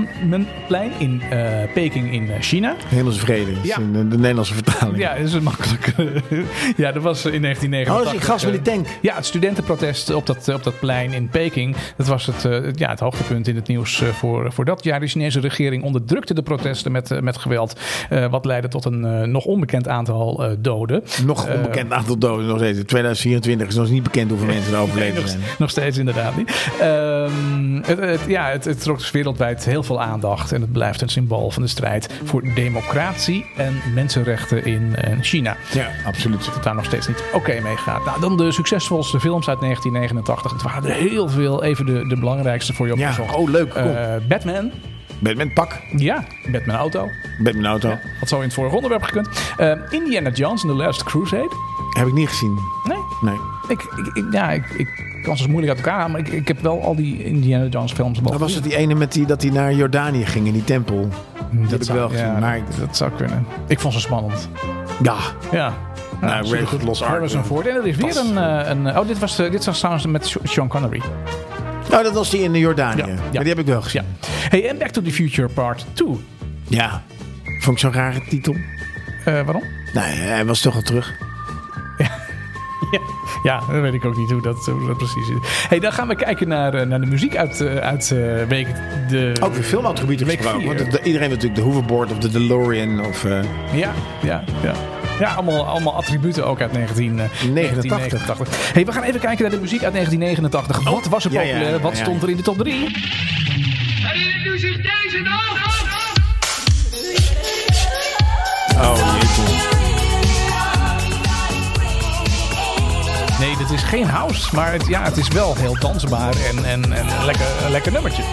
Tiananmenplein in eh, Peking in eh, China. Hemelsvrede. Ja. Ja. De, de Nederlandse vertaling. Ja, dat is een makkelijk. eh, ja, dat was in 1989. Oh, dat is die gast met die tank. Ja, het studentenprotest op dat, op dat plein in Peking. Dat was het, eh, het- ja, het hoogtepunt in het nieuws eh, voor, voor dat jaar. De Chinese regering onderdrukte de protesten met, eh, met geweld. eh, wat leidde tot een eh, nog onbekend aantal eh, doden. Nog onbekend aantal doden nog steeds. 2024 is nog niet bekend hoeveel mensen er overleden zijn. Nog steeds inderdaad niet. Ehm, het, het- ja, het, het trok dus wereldwijd heel veel aandacht. En het blijft een symbool van de strijd voor democratie en mensenrechten in eh, China. Ja, absoluut. Dat het daar nog steeds niet oké mee gaat. Nou, dan de succesvolste films uit 1989. Het waren er heel veel. Even de, de belangrijkste voor je Ja, opgezocht. oh leuk. Cool. Eh, Batman. Batman pak. Ja, Batman Auto. Batman auto. Had zo in het vorige onderwerp gekund. Eh, Indiana Jones en The Last Crusade. Heb ik niet gezien. Nee, Nee. ik, ik, ik- ja, ik, ik kan ze moeilijk uit elkaar halen, maar ik, ik heb wel al die Indiana Jones films wel Dat was gezien. het die ene met die, dat hij naar Jordanië ging in die tempel. Dat, heb ik zou- wel gezien. ja, maar dat, dat zou kunnen. Ik vond ze spannend. ja, Ja. Nou, super Ray goed. Lost Ark. Harrison Ford. En er is weer Pas. een, eh, een... Oh, dit was, eh, dit was trouwens met Sean Connery. Oh, dat was die in Jordanië. Ja, ja. Maar die heb ik wel Ja. gezien. Hey, en Back to the Future Part 2. Ja. Vond ik zo'n rare titel. Eh, waarom? Nee, hij was toch al terug. ja, ja, dat weet ik ook niet hoe dat, hoe dat precies is. hey, dan gaan we kijken naar, eh, naar de muziek uit, eh, uit eh, week de... Ook weer filmattributen Week gesproken. vier. Want de- iedereen heeft natuurlijk de hoverboard of de DeLorean of... eh, Ja, ja, ja. Ja, allemaal, allemaal attributen ook uit 19, eh, 89. 1989. Hey, we gaan even kijken naar de muziek uit 1989. Wat was er ja, ja, populair? ja, Wat ja, stond ja. er in de top 3? En in het nieuws is deze dag. oh, jeetje. Nee, dat is geen house, maar het, ja, het is wel heel dansbaar en, en, en een lekker, een lekker nummertje.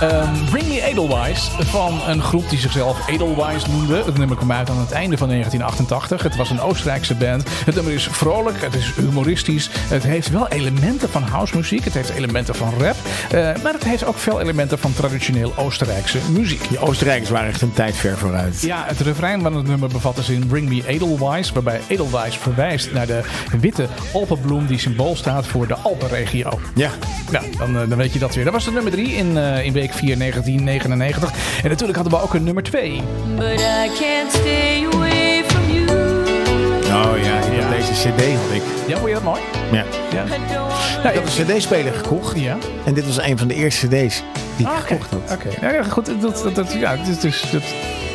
Ehm, Bring Me Edelweiss van een groep die zichzelf Edelweiss noemde. Het nummer kwam uit aan het einde van 1988. Het was een Oostenrijkse band. Het nummer is vrolijk, het is humoristisch. Het heeft wel elementen van housemuziek, het heeft elementen van rap. eh, maar het heeft ook veel elementen van traditioneel Oostenrijkse muziek. Die Oostenrijkers waren echt een tijd ver vooruit. Ja, het refrein van het nummer bevat de zin Bring Me Edelweiss, waarbij Edelweiss verwijst naar de witte alpenbloem die symbool staat voor de Alpenregio. Ja. Nou, dan, eh, dan weet je dat weer. Dat was de nummer 3 in, eh, in week 4 1999. En natuurlijk hadden we ook een nummer 2. But I can't stay away from you. Oh ja, ik had deze cd had ik. Ja, vond je dat mooi? Ja. Ja. I don't wanna Nou, Ik had een cd-speler gekocht. Ja. En dit was een van de eerste cd's die ik Ah, Oké, gekocht had. Oké. Nou ja, goed. Dat, dat, dat, ja, dit is, dus, dat,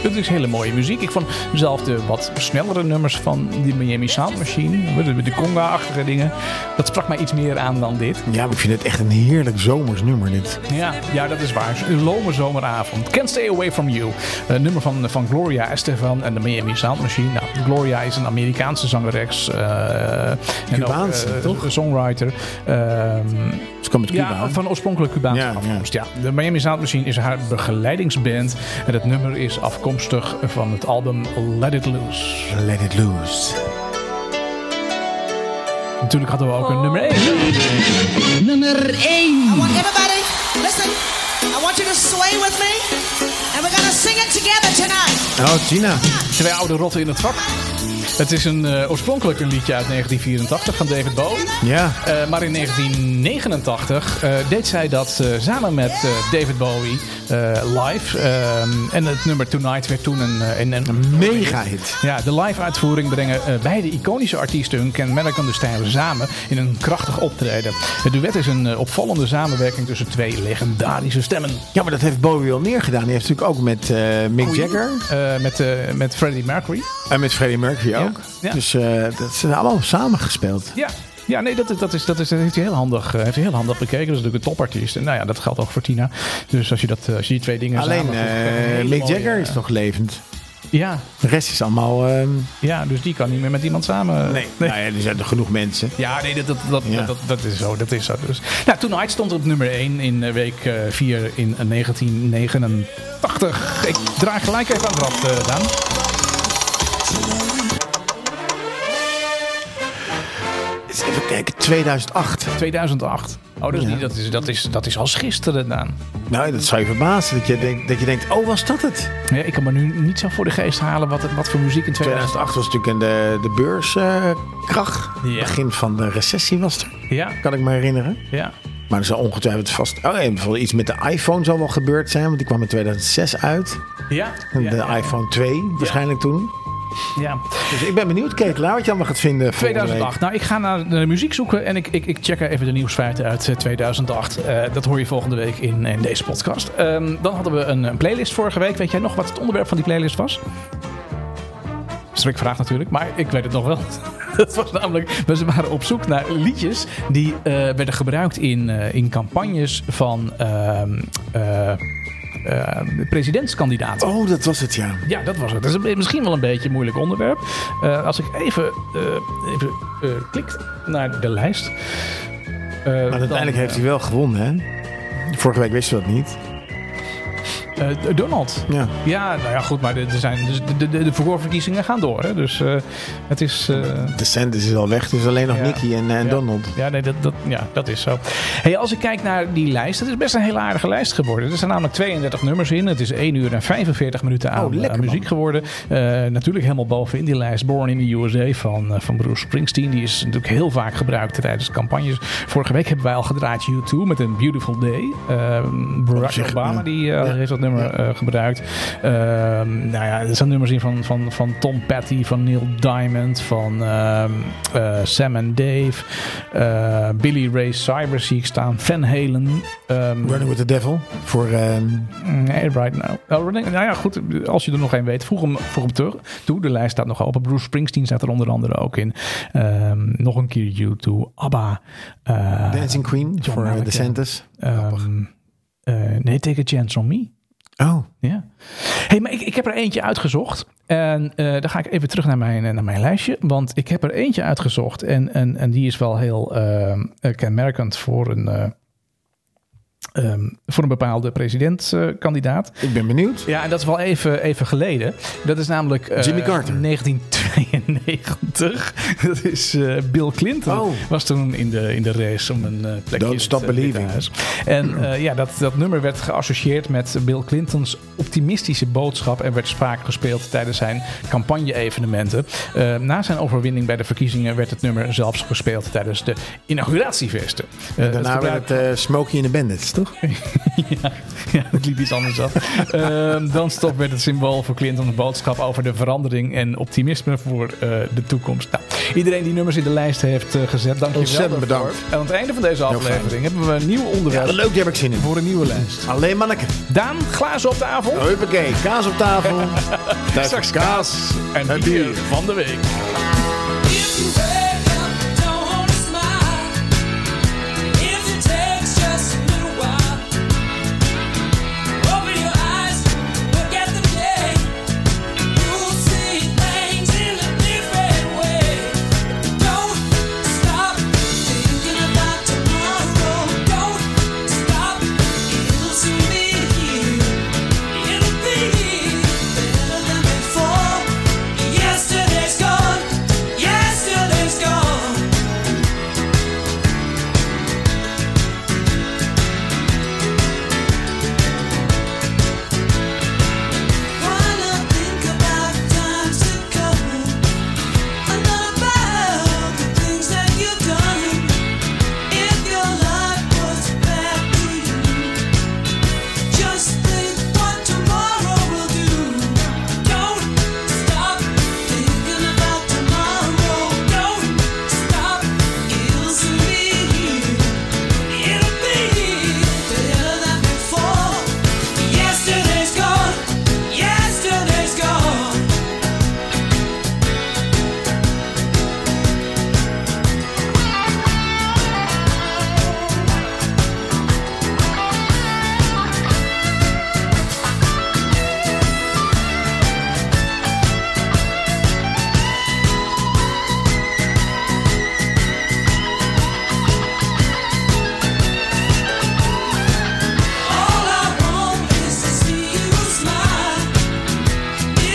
dat is hele mooie muziek. Ik vond zelf de wat snellere nummers van die Miami Sound Machine, de, de conga-achtige dingen, dat sprak mij iets meer aan dan dit. Ja, maar ik vind het echt een heerlijk zomers nummer dit. Ja, ja, dat is waar. Een lome zomeravond. Can't Stay Away From You. Een nummer van, van Gloria Estefan en de Miami Sound Machine. Nou, Gloria is een Amerikaanse zangeres. eh, Cubaanse, en ook, eh, toch? Een songwriter. Ehm, Ze kwam uit Cuba. ja, hè? van oorspronkelijk Cubaanse Ja, afkomst. Ja. De Miami Sound Machine is haar begeleidingsband. En het nummer is afkomstig van het album Let It Loose. Let it loose. Natuurlijk hadden we ook een nummer 1. want everybody, listen, I want you to sway with me, and we're gonna sing it together tonight. Oh, Gina. Twee oude rotten in het vak. Het is een, eh, oorspronkelijk een liedje uit 1984 van David Bowie. Ja. Eh, maar in 1989 eh, deed zij dat eh, samen met eh, David Bowie eh, live. Ehm, en het nummer Tonight werd toen een, eh, een, een Mega hit. Ja, de live uitvoering brengen eh, beide iconische artiesten hun kenmerkende stijlen samen in een krachtig optreden. Het duet is een eh, opvallende samenwerking tussen twee legendarische stemmen. Ja, maar dat heeft Bowie al meer gedaan. Die heeft natuurlijk ook met eh, Mick Jagger Eh, met, eh, met Freddie Mercury. en met Freddie Mercury ook. ja. Dus eh, dat zijn allemaal samen gespeeld. Ja. Ja, nee, dat, dat, is, dat, is, dat heeft hij heel handig, eh, heeft hij heel handig bekeken. Dat is natuurlijk een topartiest. En nou ja, dat geldt ook voor Tina. Dus als je, dat, eh, als je die twee dingen Dus Alleen samen doet, krijg je een eh hele Mick mooie, Jagger eh, is nog levend. Ja, De rest is allemaal... eh, ja, dus die kan niet meer met iemand samen. Nou ja, er zijn er genoeg mensen. Ja, nee, dat, dat, dat, Ja. dat, dat, dat is zo. Dat is zo dus. Nou, Tonight stond op nummer 1 in eh, week eh, 4 in 1989. Ik draai gelijk even aan het rad, eh, Daan. Eens Dus even kijken, 2008. 2008. Oh, dat is, Ja. niet, dat is, dat is, dat is als gisteren, Daan. Nou, dat zou je verbazen. Dat je, denkt, dat je denkt, oh, was dat het? Ja, ik kan me nu niet zo voor de geest halen wat, het- wat voor muziek in 2008. 2008 was natuurlijk in de, de beurskracht. Ja. Begin van de recessie was er, Ja, kan ik me herinneren. ja. Maar er zou ongetwijfeld vast... Oh, en bijvoorbeeld iets met de iPhone zou wel gebeurd zijn. Want die kwam in 2006 uit. Ja, En ja, de ja, iPhone 2 waarschijnlijk toen. ja. Dus ik ben benieuwd, Ketelaar, wat je allemaal gaat vinden volgende 2008. Nou, ik ga naar de muziek zoeken en ik, ik, ik check er even de nieuwsfeiten uit eh, 2008. Eh, dat hoor je volgende week in, in deze podcast. Ehm, dan hadden we een, een playlist vorige week. Weet jij nog wat het onderwerp van die playlist was? Strik vraag natuurlijk, maar ik weet het nog wel. Dat was namelijk, we waren op zoek naar liedjes die eh, werden gebruikt in, eh, in campagnes van ehm, eh, eh, presidentskandidaten. Week. Oh, dat was het, ja. Ja, dat was het. Dat is een- misschien wel een beetje een moeilijk onderwerp. Eh, als ik even, eh even eh, klik naar de lijst. Eh, Maar uiteindelijk heeft hij wel gewonnen, hè? Vorige week wisten we dat niet. hij... eh, Donald. Ja. Ja, nou ja, goed, maar de, de, zijn, dus de, de, de voorverkiezingen gaan door. Hè? Dus eh, het is... eh, De Sanders is al weg, dus alleen nog Ja. Nicky en, en Ja. Donald. Ja, nee, dat, dat, ja, dat is zo. Hey, als ik kijk naar die lijst, het is best een hele aardige lijst geworden. Er zijn namelijk 32 nummers in. Het is 1 uur en 45 minuten aan, Oh, lekker, aan muziek man. geworden. Eh, natuurlijk helemaal bovenin die lijst. Born in the USA van, eh, van Bruce Springsteen. Die is natuurlijk heel vaak gebruikt tijdens campagnes. Vorige week hebben wij al gedraaid U2 met een Beautiful Day. Eh, Barack zich, Obama ja. die, eh, Ja. heeft dat nummer nummer eh, gebruikt. Ehm, nou ja, er zijn nummers hier van, van, van Tom Petty, van Neil Diamond, van ehm, eh, Sam and Dave, eh, Billy Ray Cyrus zie ik staan, Van Halen, ehm, Running with the Devil. Voor, ehm, Nee, right now. Oh, Running- nou ja, goed. Als je er nog één weet, vroeg hem, vroeg hem terug. Doe, de lijst staat nog open. Bruce Springsteen staat er onder andere ook in. Ehm, nog een keer U2, ABBA. eh, Dancing Queen. John voor Mellencamp. de Santas. ehm, eh, nee, Take a Chance on Me. Oh, Ja. hey, maar ik, ik heb er eentje uitgezocht. En eh, dan ga ik even terug naar mijn, eh, naar mijn lijstje. Want ik heb er eentje uitgezocht. En, en, en die is wel heel ehm, eh, kenmerkend voor een, eh, ehm, voor een bepaalde presidentskandidaat. ik ben benieuwd. Ja, en dat is wel even, even geleden. Dat is namelijk... eh, Jimmy Carter. 1992. Dat is eh, Bill Clinton. Oh. Was toen in de, in de race om een eh, plekje... in het, stop eh, believing. Witte Huis. En eh, ja, dat, dat nummer werd geassocieerd met Bill Clintons optimistische boodschap... en werd sprake gespeeld tijdens zijn campagne-evenementen. Eh, na zijn overwinning bij de verkiezingen werd het nummer zelfs gespeeld... tijdens de inauguratievesten. Eh, het Daarna gebruik- werd het eh, Smokey and the Bandits, toch? ja, ja, dat liep iets anders af. Ehm dan stop werd het symbool voor Clinton een boodschap over de verandering en optimisme voor eh, de toekomst. Nou, iedereen die nummers in de lijst heeft eh, gezet, dank je wel. Ontzettend daarvoor. bedankt. En aan het einde van deze aflevering hebben we een nieuw Ja, onderwerp leuk, daar heb ik zin in. voor een nieuwe lijst. Alleen manneke. Daan, glazen op tafel. Huppakee, kaas op tafel. Daar is Straks kaas En en bier bier. van de week. If you wake up, don't smile. If it takes just a little while, open your eyes, look at the day. You'll see things in a different way. Don't stop thinking about tomorrow. Don't stop, you'll soon be here. It'll be better than before. Yesterday's gone. Yesterday's gone. Wanna think about times to come, and about the things that you've done. If your life was bad to you, just think what tomorrow will do. Don't stop thinking about tomorrow. Don't stop, it'll soon be here. It'll be better than before. Yesterday's gone. Yesterday's gone. All I want is to see you smile.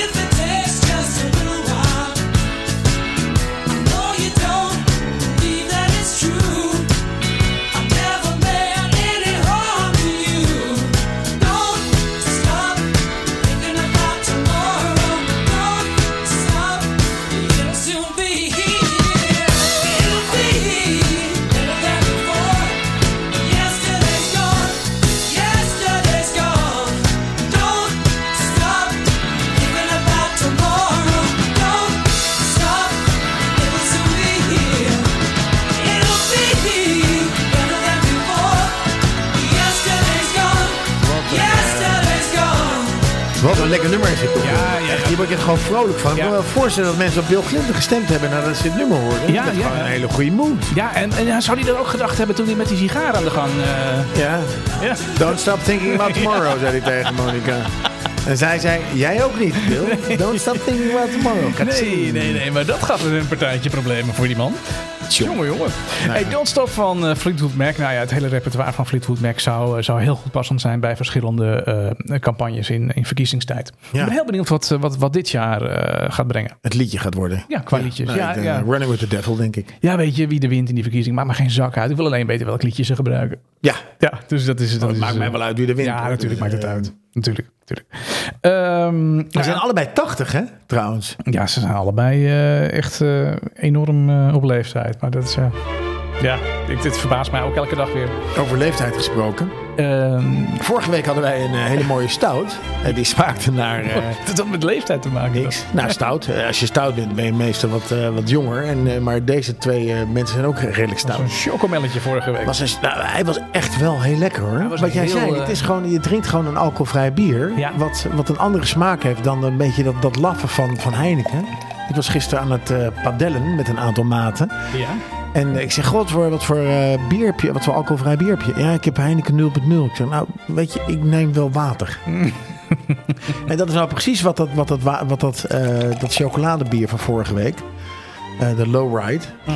If it takes just a little while, I know you don't believe that it's true. I've never meant any harm to you. Don't stop thinking about tomorrow. Don't stop, it'll soon be here. It'll be better than before. Yesterday's gone. Yesterday's gone. Don't stop thinking about tomorrow. Don't stop. It'll soon be here. It'll be better than before. Yesterday's gone. Yesterday's gone. Wat een lekker nummer is dit toch? Ja, ja, ja. Hier word ik er gewoon vrolijk van. Ik Ja. kan me wel voorstellen dat mensen op Bill Clinton gestemd hebben nadat ze dit nummer hoorden. Ja, dat is ja, gewoon ja. een hele goede mood. Ja, en, en ja, zou hij dat ook gedacht hebben toen hij met die sigaar aan de gang... eh, Ja. ja. Don't stop thinking about tomorrow, zei hij tegen Monica. En zij zei, jij ook niet, Bill. Don't stop thinking about tomorrow. Gaat Nee, zien. nee, nee, maar dat gaf een partijtje problemen voor die man. Jongen, jongen. Hey, Don't Stop van eh, Fleetwood Mac. Nou ja, het hele repertoire van Fleetwood Mac zou, eh, zou heel goed passend zijn bij verschillende eh, campagnes in, in verkiezingstijd. Ik ben heel benieuwd wat, eh, wat, wat dit jaar eh, gaat brengen. Het liedje gaat worden. Ja, qua liedjes. Nou, Ja, ik, eh, ja. Running with the Devil, denk ik. ja, weet je wie er wint in die verkiezing? Maakt maar geen zak uit. Ik wil alleen weten welk liedje ze gebruiken. Ja, Ja, dus dat is het. dat maakt mij wel uit wie de wint. Ja, natuurlijk maakt het Eh, uit. Natuurlijk, natuurlijk. Ehm, Ze nou zijn ja. allebei 80, hè, trouwens. Ja, ze zijn allebei eh, echt eh, enorm eh, op leeftijd. Maar dat is ja. Ja, ik, dit verbaast mij ook elke dag weer. Over leeftijd gesproken. Ehm, Vorige week hadden wij een eh, hele mooie stout. Eh, die smaakte naar eh, het had met leeftijd te maken. niks. Nou, stout. Eh, als je stout bent, ben je meestal wat, eh, wat jonger. En, eh, maar deze twee eh, mensen zijn ook redelijk Dat was stout. Een chocomelletje vorige week. Was een- nou, hij was echt wel heel lekker hoor. was Wat jij heel, zei, eh, het is gewoon, je drinkt gewoon een alcoholvrij bier. Ja. Wat, wat een andere smaak heeft dan een beetje dat, dat laffen van, van Heineken. Ik was gisteren aan het eh, padellen met een aantal maten. Ja. En eh, ik zeg, god, voor, wat voor eh, bier heb je? Wat voor alcoholvrij bier heb je? Ja, ik heb Heineken 0.0. Ik zeg, nou, weet je, ik neem wel water. en dat is nou precies wat dat, wat dat, wa- wat dat, eh, dat chocoladebier van vorige week... eh, de Lowride. eh,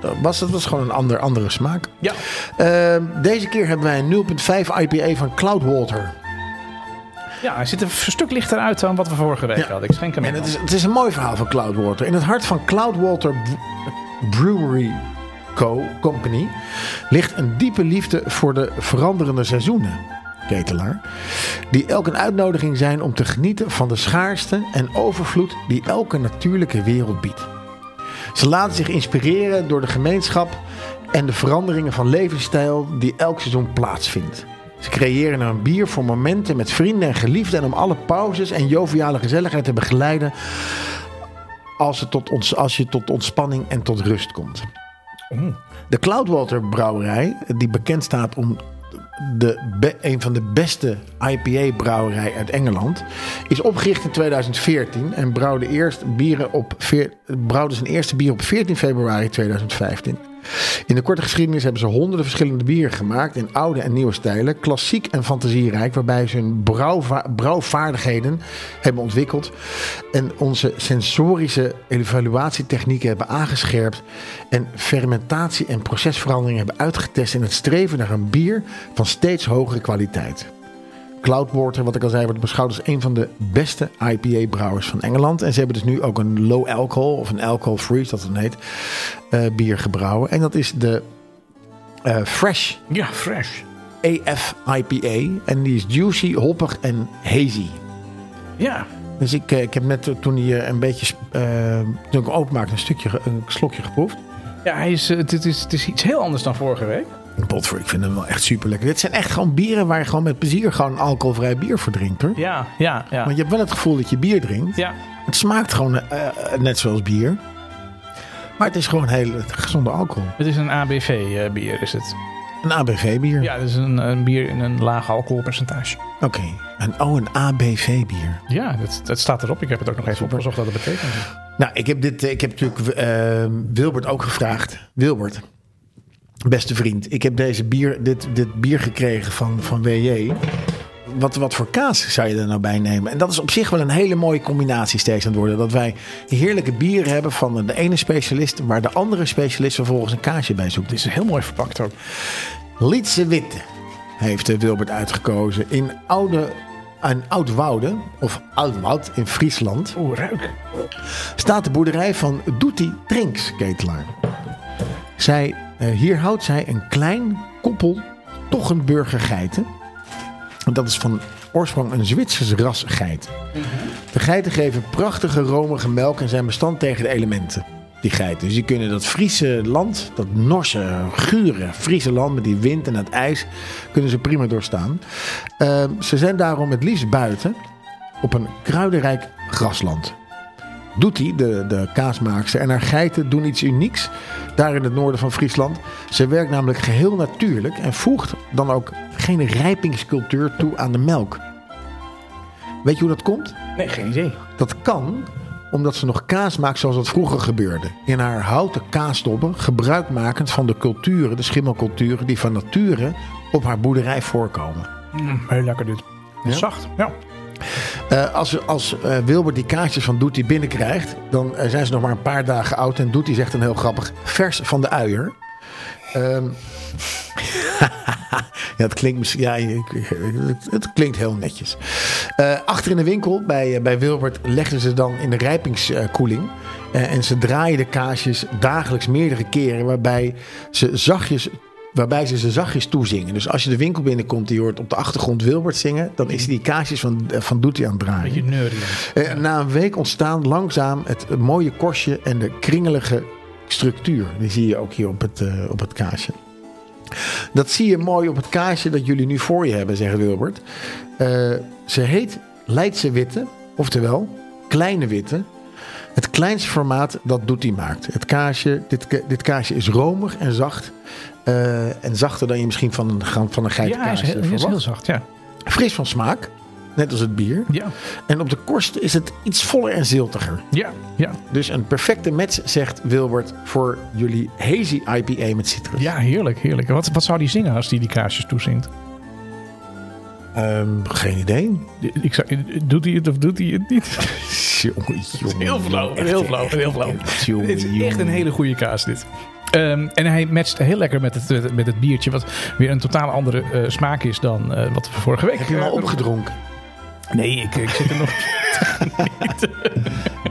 dat was, dat was gewoon een ander, andere smaak. Ja. Eh, deze keer hebben wij een 0.5 IPA van Cloudwater. ja, hij ziet er een stuk lichter uit dan wat we vorige week Ja. hadden. Ik schenk hem En in. het is, het is een mooi verhaal van Cloudwater. In het hart van Cloudwater Bre- Brewery Co. Company ligt een diepe liefde voor de veranderende seizoenen. Ketelaar. Die elk een uitnodiging zijn om te genieten van de schaarste en overvloed die elke natuurlijke wereld biedt. Ze laten zich inspireren door de gemeenschap en de veranderingen van levensstijl die elk seizoen plaatsvindt. Ze creëren een bier voor momenten met vrienden en geliefden en om alle pauzes en joviale gezelligheid te begeleiden als, het tot ons, als je tot ontspanning en tot rust komt. De Cloudwater Brouwerij, die bekend staat om de, be- een van de beste IPA-brouwerij uit Engeland, is opgericht in 2014 en brouwde, eerst bieren op veer- brouwde zijn eerste bier op 14 februari 2015. In de korte geschiedenis hebben ze honderden verschillende bieren gemaakt in oude en nieuwe stijlen, klassiek en fantasierijk, waarbij ze hun brouwva- brouwvaardigheden hebben ontwikkeld en onze sensorische evaluatietechnieken hebben aangescherpt en fermentatie en procesverandering hebben uitgetest in het streven naar een bier van steeds hogere kwaliteit. Cloudwater, wat ik al zei, wordt beschouwd als een van de beste IPA-brouwers van Engeland. En ze hebben dus nu ook een low alcohol, of een alcohol-free, dat het dan heet, eh, bier gebrouwen. En dat is de eh, Fresh Ja, fresh. AF IPA. En die is juicy, hoppig en hazy. Ja. Dus ik, eh, ik heb net eh, toen hij eh, een beetje, sp- eh, toen ik hem openmaakte, een stukje, ge- een slokje geproefd. Ja, hij is, eh, dit is, het is iets heel anders dan vorige week. Potver, ik vind hem wel echt super lekker. Dit zijn echt gewoon bieren waar je gewoon met plezier gewoon alcoholvrij bier voor drinkt hoor. Ja, ja, ja. Want je hebt wel het gevoel dat je bier drinkt. Ja, Het smaakt gewoon eh, eh, net zoals bier. Maar het is gewoon heel het is gezonde alcohol. het is een ABV-bier, eh, is het. Een ABV-bier. Ja, het is een, een bier in een laag alcoholpercentage. Oké. En oh, een ABV-bier. Ja, dat, dat staat erop. Ik heb het ook nog even opgezocht wat het betekent. Nou, ik heb, dit, eh, ik heb natuurlijk eh, Wilbert ook gevraagd. Wilbert, beste vriend. Ik heb deze bier, dit, dit bier gekregen van, van WJ. Wat, wat voor kaas zou je er nou bij nemen? En dat is op zich wel een hele mooie combinatie steeds aan het worden. Dat wij heerlijke bieren hebben van de ene specialist... waar de andere specialist vervolgens een kaasje bij zoekt. Het is heel mooi verpakt ook. Lietse Witte heeft eh, Wilbert uitgekozen in Oude... Aan Oudwoude, of Oudwoud in Friesland, Oeh, ruik. staat de boerderij van Doetie Trinks ketelaar. Zij, eh, hier houdt zij een klein koppel Tochenburgergeiten. Dat is van oorsprong een Zwitsers ras geit. De geiten geven prachtige romige melk en zijn bestand tegen de elementen. Die geiten. Dus die kunnen dat Friese land, dat Norse, gure Friese land met die wind en dat ijs, kunnen ze prima doorstaan. Eh, ze zijn daarom het liefst buiten op een kruidenrijk grasland. Doetie, de, de kaasmaakster, en haar geiten doen iets unieks daar in het noorden van Friesland. Ze werkt namelijk geheel natuurlijk en voegt dan ook geen rijpingscultuur toe aan de melk. Weet je hoe dat komt? Nee, geen idee. Dat kan omdat ze nog kaas maakt zoals dat vroeger gebeurde. In haar houten kaasdobben, gebruikmakend van de culturen, de schimmelculturen, die van nature op haar boerderij voorkomen. Heel lekker dit. Zacht. Ja. Eh, als als eh, Wilbert die kaartjes van Doetie binnenkrijgt, dan eh, zijn ze nog maar een paar dagen oud. En Doetie zegt dan heel grappig, vers van de uier. Ehm, ja, het klinkt, misschien- ja, ik- ik- het, het klinkt heel netjes. Eh, achter in de winkel bij, eh, bij Wilbert legden ze dan in de rijpingskoeling. Eh, en ze draaien de kaasjes dagelijks meerdere keren, waarbij ze zachtjes... Waarbij ze ze zachtjes toezingen. Dus als je de winkel binnenkomt en je hoort op de achtergrond Wilbert zingen... dan is hij die kaasjes van, eh, van Doetie aan het draaien. Beetje neuriën. Eh, Na een week ontstaan langzaam het mooie korstje en de kringelige structuur. Die zie je ook hier op het, eh, op het kaasje. Dat zie je mooi op het kaasje dat jullie nu voor je hebben, zegt Wilbert. Eh, ze heet Leidse Witte, oftewel Kleine Witte. Het kleinste formaat dat Doetie maakt. Het kaasje, dit, ka- dit kaasje is romig en zacht. eh, en zachter dan je misschien van een, ga- van een Ja, hij is, geitenkaasje heel, hij is heel verwacht. zacht. Ja. Fris van smaak, net als het bier. Ja. En op de korst is het iets voller en ziltiger. Ja. Ja. Dus een perfecte match, zegt Wilbert, voor jullie hazy IPA met citrus. ja, heerlijk, heerlijk. Wat, wat zou die zingen als die die kaarsjes toezingt? Ehm, geen idee. Ik zou, doet hij het of doet hij het niet? Jongen, jongen, Heel flauw, echt, eh, heel flauw, echt, heel flauw. echt, jongen, Het is echt jongen. een hele goede kaas dit. Ehm, en hij matcht heel lekker met het, met het biertje, wat weer een totaal andere eh, smaak is dan eh, wat we vorige week Heb je hem al opgedronken? Nee, ik, ik zit er nog. De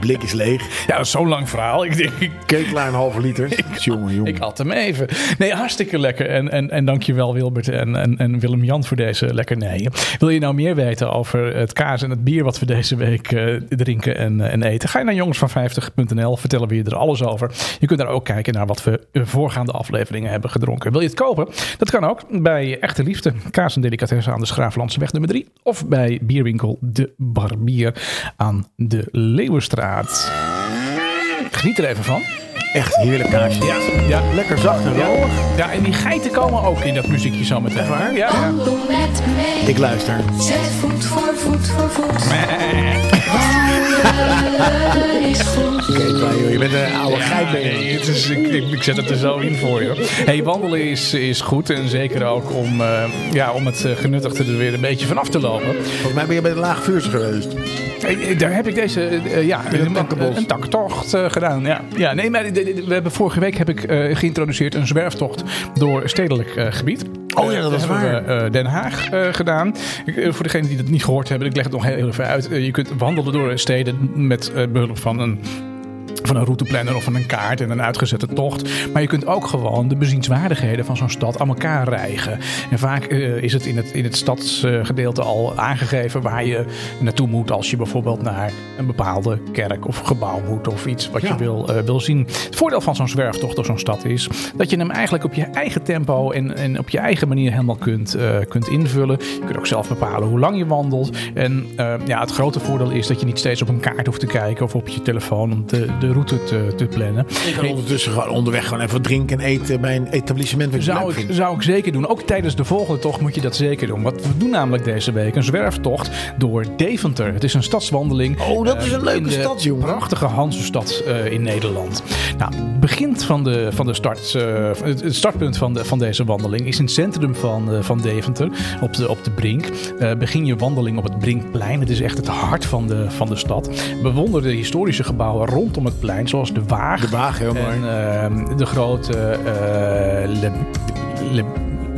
blik is leeg. Ja, dat is zo'n lang verhaal. Ik denk, ik Kekelaar een halve liter. Jongen, jongen. Ik had hem even. Nee, hartstikke lekker. En, en, en dankjewel Wilbert en, en, en Willem-Jan voor deze lekkernijen. Wil je nou meer weten over het kaas en het bier wat we deze week eh, drinken en, eh, en eten? Ga je naar jongensvan50.nl. Vertellen we je er alles over. Je kunt daar ook kijken naar wat we eh, voorgaande afleveringen hebben gedronken. Wil je het kopen? Dat kan ook bij Echte Liefde. Kaas en Delicatessen aan de Schraaflandseweg nummer 3. Of bij bierwinkel De Barbier aan de Leeuwenstraat. Geniet er even van. Echt heerlijk kaasje. Ja, ja. Lekker zacht en Ja. romig. ja, en die geiten komen ook in dat muziekje zo meteen. waar? Ja, ja. Wandel met mee. Ik luister. Zet voet voor voet voor voet. Wandelen is goed. Kekelaar, joh, je bent een oude geit. ben je. nee, het is, ik, ik, ik zet het er zo in voor je. hoor. Hey, wandelen is, is goed en zeker ook om, eh, ja, om het eh, genuttigde er weer een beetje vanaf te lopen. Volgens mij ben je bij de laagvuurs geweest. Eh, eh, Daar heb ik deze, eh, eh, ja, het een, takkenbos. een taktocht eh, gedaan. Ja. ja, nee, maar de- de- we hebben vorige week heb ik eh, geïntroduceerd een zwerftocht door stedelijk eh, gebied. Oh ja, dat Eh, is hebben waar. We, eh, Den Haag eh, gedaan. Ik, eh, voor degenen die dat niet gehoord hebben, ik leg het nog heel even uit. Eh, je kunt wandelen door steden met eh, behulp van een van een routeplanner of van een kaart en een uitgezette tocht. Maar je kunt ook gewoon de bezienswaardigheden van zo'n stad aan elkaar rijgen. En vaak eh, is het in het, in het stadsgedeelte al aangegeven waar je naartoe moet als je bijvoorbeeld naar een bepaalde kerk of gebouw moet of iets wat je wil, eh, wil zien. Het voordeel van zo'n zwerftocht door zo'n stad is dat je hem eigenlijk op je eigen tempo en, en op je eigen manier helemaal kunt, eh, kunt invullen. Je kunt ook zelf bepalen hoe lang je wandelt. En eh, ja, het grote voordeel is dat je niet steeds op een kaart hoeft te kijken of op je telefoon om de, de route te, te plannen. Ik kan ondertussen gewoon onderweg gewoon even drinken en eten bij een etablissement. Wat je leuk Zou ik, vindt. zou ik zeker doen. Ook tijdens de volgende tocht moet je dat zeker doen. Want we doen namelijk deze week een zwerftocht door Deventer. Het is een stadswandeling. Oh, dat eh, is een leuke in de stad, jongen. Prachtige Hansestad eh, in Nederland. Nou, het begint van de, van de start, eh, het het startpunt van, de, van deze wandeling is in het centrum van, eh, van Deventer, op de, op de Brink. Eh, begin je wandeling op het Brinkplein. Het is echt het hart van de, van de stad. Bewonder de historische gebouwen rondom het plein, zoals de Waag. De Waag, heel mooi. En, ehm, de grote eh Le,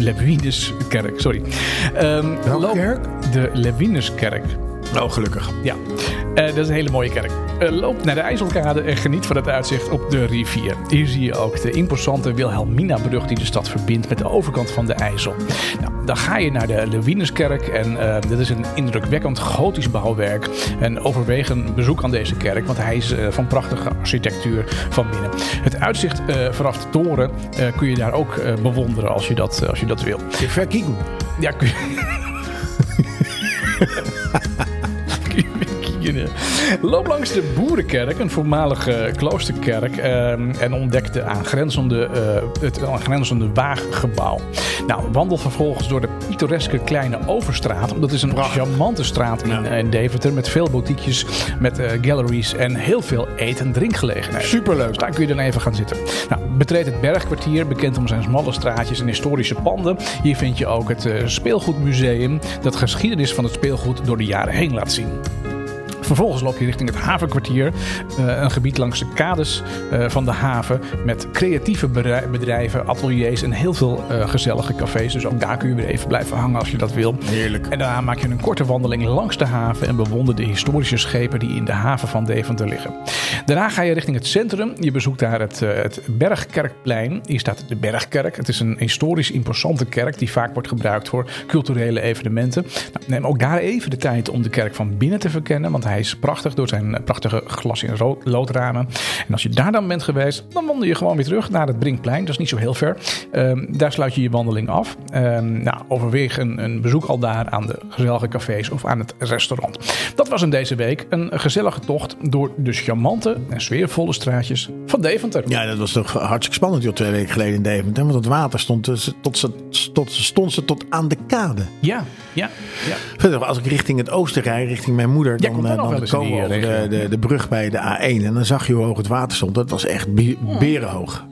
Le, Lebuinuskerk, sorry. Ehm, Welke loop- kerk? De Lebuinuskerk. Oh, gelukkig. Ja, Eh, dat is een hele mooie kerk. Eh, loop naar de IJsselkade en geniet van het uitzicht op de rivier. Hier zie je ook de imposante Wilhelminabrug die de stad verbindt met de overkant van de IJssel. Nou, dan ga je naar de Lewinuskerk en eh, dit is een indrukwekkend gotisch bouwwerk. En overweeg een bezoek aan deze kerk, want hij is eh, van prachtige architectuur van binnen. Het uitzicht eh, vanaf de toren eh, kun je daar ook eh, bewonderen als je dat, eh, als je dat wil. Ik verkieken. Ja, kun je... Kun je weer kiezen. Loop langs de Boerenkerk, een voormalige kloosterkerk, ehm, en ontdek de aangrenzende, eh, het aangrenzende Waaggebouw. Nou, wandel vervolgens door de pittoreske Kleine Overstraat. Dat is een charmante straat in, in Deventer met veel boutiques, met eh, galleries en heel veel eet- en drinkgelegenheden. Superleuk. Dus daar kun je dan even gaan zitten. Nou, betreed het Bergkwartier, bekend om zijn smalle straatjes en historische panden. Hier vind je ook het eh, Speelgoedmuseum, dat geschiedenis van het speelgoed door de jaren heen laat zien. Vervolgens loop je richting het havenkwartier, eh, een gebied langs de kades eh, van de haven met creatieve bedrij- bedrijven, ateliers en heel veel eh, gezellige cafés. Dus ook daar kun je weer even blijven hangen als je dat wil. Heerlijk. En daarna maak je een korte wandeling langs de haven en bewonder de historische schepen die in de haven van Deventer liggen. Daarna ga je richting het centrum. Je bezoekt daar het, eh, het Bergkerkplein. Hier staat de Bergkerk. Het is een historisch imposante kerk die vaak wordt gebruikt voor culturele evenementen. Nou, neem ook daar even de tijd om de kerk van binnen te verkennen, want hij Hij is prachtig door zijn eh, prachtige glas in rood, loodramen. En als je daar dan bent geweest, dan wandel je gewoon weer terug naar het Brinkplein. Dat is niet zo heel ver. Ehm, daar sluit je je wandeling af. Ehm, nou, overweeg een, een bezoek al daar aan de gezellige cafés of aan het restaurant. Dat was hem deze week. Een gezellige tocht door de charmante en sfeervolle straatjes van Deventer. Ja, dat was toch hartstikke spannend joh, twee weken geleden in Deventer. Want het water stond, dus tot, ze, tot, stond ze tot aan de kade. Ja, ja, ja. Verder, als ik richting het oosten rijd, richting mijn moeder, Jij dan, komt dan eh, nog wel eens in komen we die, over eh, de, de, de brug bij de A1. En dan zag je hoe hoog het water stond. Dat was echt bi- berenhoog.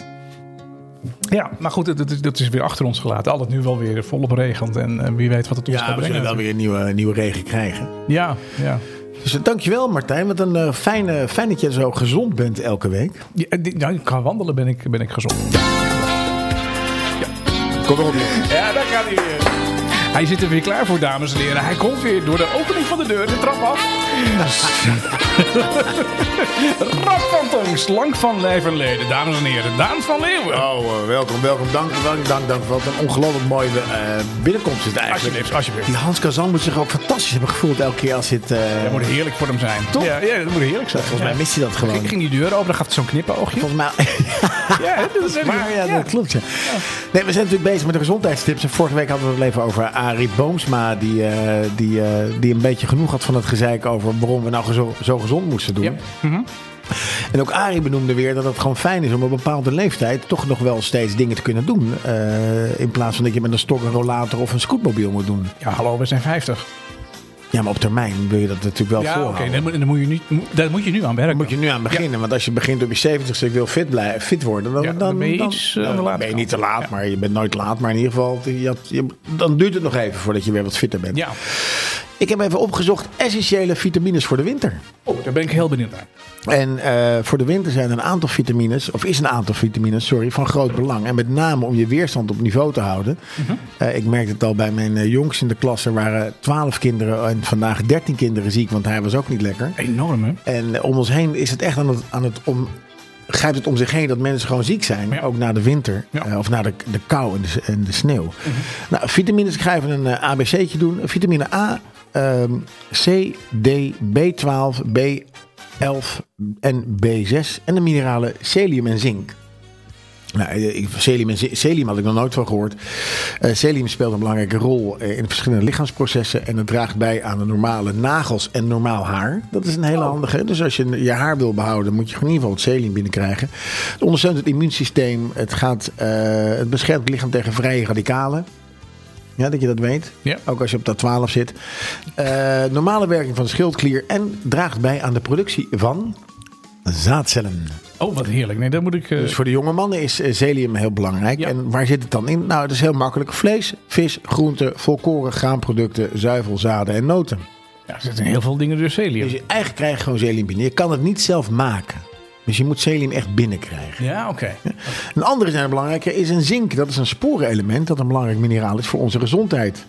Ja, maar goed, dat- dat, dat is weer achter ons gelaten. Al het nu wel weer volop regent en eh, wie weet wat het ons gaat Ja, we brengen. zullen wel weer een nieuwe, nieuwe regen krijgen. Ja, ja. Dus eh, dankjewel Martijn. Wat een eh, fijne, fijn dat je zo gezond bent elke week. ja die- nou, qua wandelen ben ik, ben ik gezond. Kom erop. joh. Ja, daar gaat hij weer. Hij zit er weer klaar voor, dames en heren. Hij komt weer door de opening van de deur de trap af. Rap van tong, slank van lijf en leden. Dames en heren, Daan van Leeuwen. Oh, eh, welkom, welkom. Dank, dank, dank, dank. Wat een ongelooflijk mooie eh, binnenkomst is het eigenlijk. Alsjeblieft, alsjeblieft. Die Hans Kazan moet zich ook fantastisch hebben gevoeld elke keer als dit... eh, Dat moet heerlijk voor hem zijn. Toch? Ja, ja dat moet heerlijk zijn. Volgens mij Ja. mist hij dat gewoon. Ik ging die deur open, dan gaf het zo'n knippenoogje. Volgens mij... Ja, dat is echt- Maar ja, dat klopt. Ja. Nee, we zijn natuurlijk bezig met de gezondheidstips. En vorige week hadden we het even over Arie Boomsma. Die, eh, die, eh, die een beetje genoeg had van het gezeik over waarom we nou zo, zo gezond moesten doen. Ja. Mhm. En ook Arie benoemde weer dat het gewoon fijn is om op een bepaalde leeftijd toch nog wel steeds dingen te kunnen doen. Eh, in plaats van dat je met een stok, een rollator of een scootmobiel moet doen. Ja, hallo, we zijn 50. Ja, maar op termijn wil je dat natuurlijk wel Ja, oké, voorhouden. dan, moet- dan moet je nu, daar moet je nu aan werken. Moet je nu aan beginnen, want als je begint op je 70 ik wil fit, blijven, fit worden, dan, Ja, dan, dan ben je dan- iets, eh, dan aan de late ben je kant. niet te laat, Ja. maar je bent nooit laat. Maar in ieder geval, je had- je- dan duurt het nog even voordat je weer wat fitter bent. Ja, Ik heb even opgezocht essentiële vitamines voor de winter. oh, daar ben ik heel benieuwd naar. En eh, voor de winter zijn er een aantal vitamines, of is een aantal vitamines, sorry, van groot belang. En met name om je weerstand op niveau te houden. Mhm. Eh, ik merkte het al bij mijn eh, jongens in de klas. Er waren 12 kinderen en vandaag 13 kinderen ziek, want hij was ook niet lekker. Enorm, hè? En om ons heen is het echt aan het, aan het om, grijpt het om zich heen dat mensen gewoon ziek zijn. Ja. Ook na de winter. Ja. eh, of na de, de kou en de, en de sneeuw. Nou, vitamines, ik ga even een eh, ABC'tje doen. Vitamine A, ehm, C, D, B12, B11 en B6. En de mineralen celium en zink. Nou, eh, ik- celium, en zi- celium had ik nog nooit van gehoord. Eh, celium speelt een belangrijke rol eh, in verschillende lichaamsprocessen. En het draagt bij aan de normale nagels en normaal haar. Dat is een hele handige. Dus als je je haar wil behouden, moet je gewoon in ieder geval het celium binnenkrijgen. Het ondersteunt het immuunsysteem. Het, gaat, eh, het beschermt het lichaam tegen vrije radicalen. Ja, dat je dat weet. Ja. Ook als je op dat 12 zit. Eh, normale werking van de schildklier. En draagt bij aan de productie van zaadcellen. Oh, wat heerlijk. Nee, daar moet ik... eh, Dus voor de jonge mannen is eh, zelium heel belangrijk. Ja. En waar zit het dan in? Nou, het is heel makkelijk. Vlees, vis, groenten, volkoren, graanproducten, zuivel, zaden en noten. ja, er zitten heel veel dingen door Dus celium. je eigen krijgt gewoon zelium binnen. Je kan het niet zelf maken. Dus je moet zelium echt binnenkrijgen. Ja, oké. Een andere zijn belangrijke is een zink. Dat is een sporenelement dat een belangrijk mineraal is voor onze gezondheid.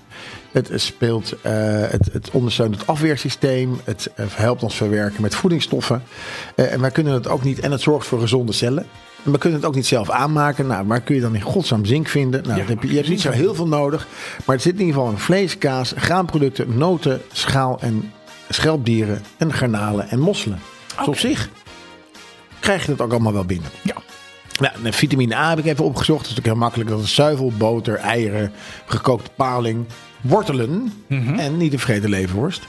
Het, speelt, eh, het, het ondersteunt het afweersysteem. Het eh, helpt ons verwerken met voedingsstoffen. Eh, en wij kunnen het ook niet. En het zorgt voor gezonde cellen. En we kunnen het ook niet zelf aanmaken. Nou, waar kun je dan in godsnaam zink vinden? Nou, dat heb je, je hebt niet zo heel veel nodig. Maar het zit in ieder geval in vlees, kaas, graanproducten, noten, schaal en schelpdieren. En garnalen en mosselen. Dus op zich krijg je dat ook allemaal wel binnen. Ja. Ja, en vitamine A heb ik even opgezocht. Dat is natuurlijk heel makkelijk. Dat is zuivel, boter, eieren, gekookte paling, wortelen Mhm. en niet te vergeten leverworst.